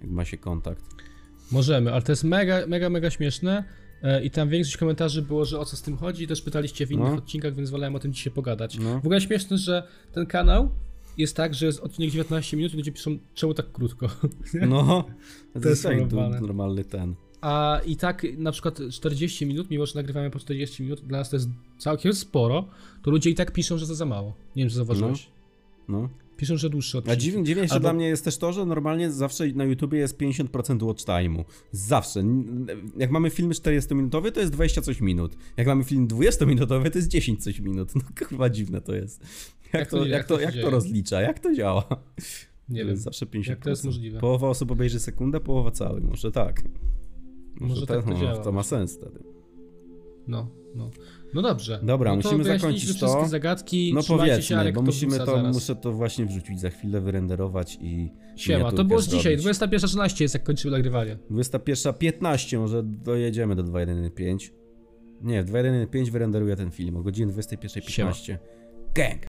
[SPEAKER 1] Jak ma się kontakt.
[SPEAKER 2] Możemy, ale to jest mega, mega, mega śmieszne e, i tam większość komentarzy było, że o co z tym chodzi, też pytaliście w innych
[SPEAKER 1] No.
[SPEAKER 2] odcinkach, więc wolałem o tym dzisiaj pogadać.
[SPEAKER 1] No.
[SPEAKER 2] W ogóle śmieszne, że ten kanał jest tak, że jest odcinek 19 minut i ludzie piszą, czemu tak krótko.
[SPEAKER 1] No, to
[SPEAKER 2] jest
[SPEAKER 1] jest tak, tu
[SPEAKER 2] normalne.
[SPEAKER 1] normalny ten.
[SPEAKER 2] A i tak na przykład 40 minut, mimo że nagrywamy po 40 minut, dla nas to jest całkiem sporo, to ludzie i tak piszą, że to za mało. Nie wiem, czy zauważyłeś.
[SPEAKER 1] No.
[SPEAKER 2] Piszą, że dłuższy
[SPEAKER 1] A
[SPEAKER 2] odcinek.
[SPEAKER 1] dziwnie, dziwniejsze
[SPEAKER 2] Albo-
[SPEAKER 1] dla mnie jest też to, że normalnie zawsze na YouTubie jest 50% watch time'u. Zawsze. N- Jak mamy filmy 40-minutowe, to jest 20 coś minut. Jak mamy film 20-minutowy, to jest 10 coś minut. No kurwa dziwne to jest. Jak,
[SPEAKER 2] Jak to-
[SPEAKER 1] to,
[SPEAKER 2] jak
[SPEAKER 1] jak,
[SPEAKER 2] to
[SPEAKER 1] to,
[SPEAKER 2] się
[SPEAKER 1] jak to
[SPEAKER 2] dzieje?
[SPEAKER 1] rozlicza? Jak to działa?
[SPEAKER 2] Nie
[SPEAKER 1] To
[SPEAKER 2] wiem.
[SPEAKER 1] jest Zawsze 50%.
[SPEAKER 2] Jak to jest możliwe?
[SPEAKER 1] Połowa osób obejrzy sekundę, połowa cały. Może tak.
[SPEAKER 2] Może tak to
[SPEAKER 1] no,
[SPEAKER 2] działa.
[SPEAKER 1] to ma sens wtedy.
[SPEAKER 2] No, no. No dobrze.
[SPEAKER 1] Dobra,
[SPEAKER 2] no
[SPEAKER 1] musimy
[SPEAKER 2] wyjaśniliśmy
[SPEAKER 1] zakończyć to.
[SPEAKER 2] wszystkie zagadki.
[SPEAKER 1] No
[SPEAKER 2] Trzymajcie
[SPEAKER 1] powiedzmy,
[SPEAKER 2] się, Arek
[SPEAKER 1] bo
[SPEAKER 2] to
[SPEAKER 1] musimy
[SPEAKER 2] wrzuca
[SPEAKER 1] to,
[SPEAKER 2] zaraz.
[SPEAKER 1] muszę to właśnie wrzucić za chwilę, wyrenderować i
[SPEAKER 2] Siema, to
[SPEAKER 1] miniaturkę
[SPEAKER 2] było z dzisiaj,
[SPEAKER 1] zrobić.
[SPEAKER 2] 21.13 jest jak kończymy nagrywanie.
[SPEAKER 1] 21.15, może dojedziemy do 2.1.5. Nie, w 2.1.5 wyrenderuję ten film o godzinie 21.15. Gang!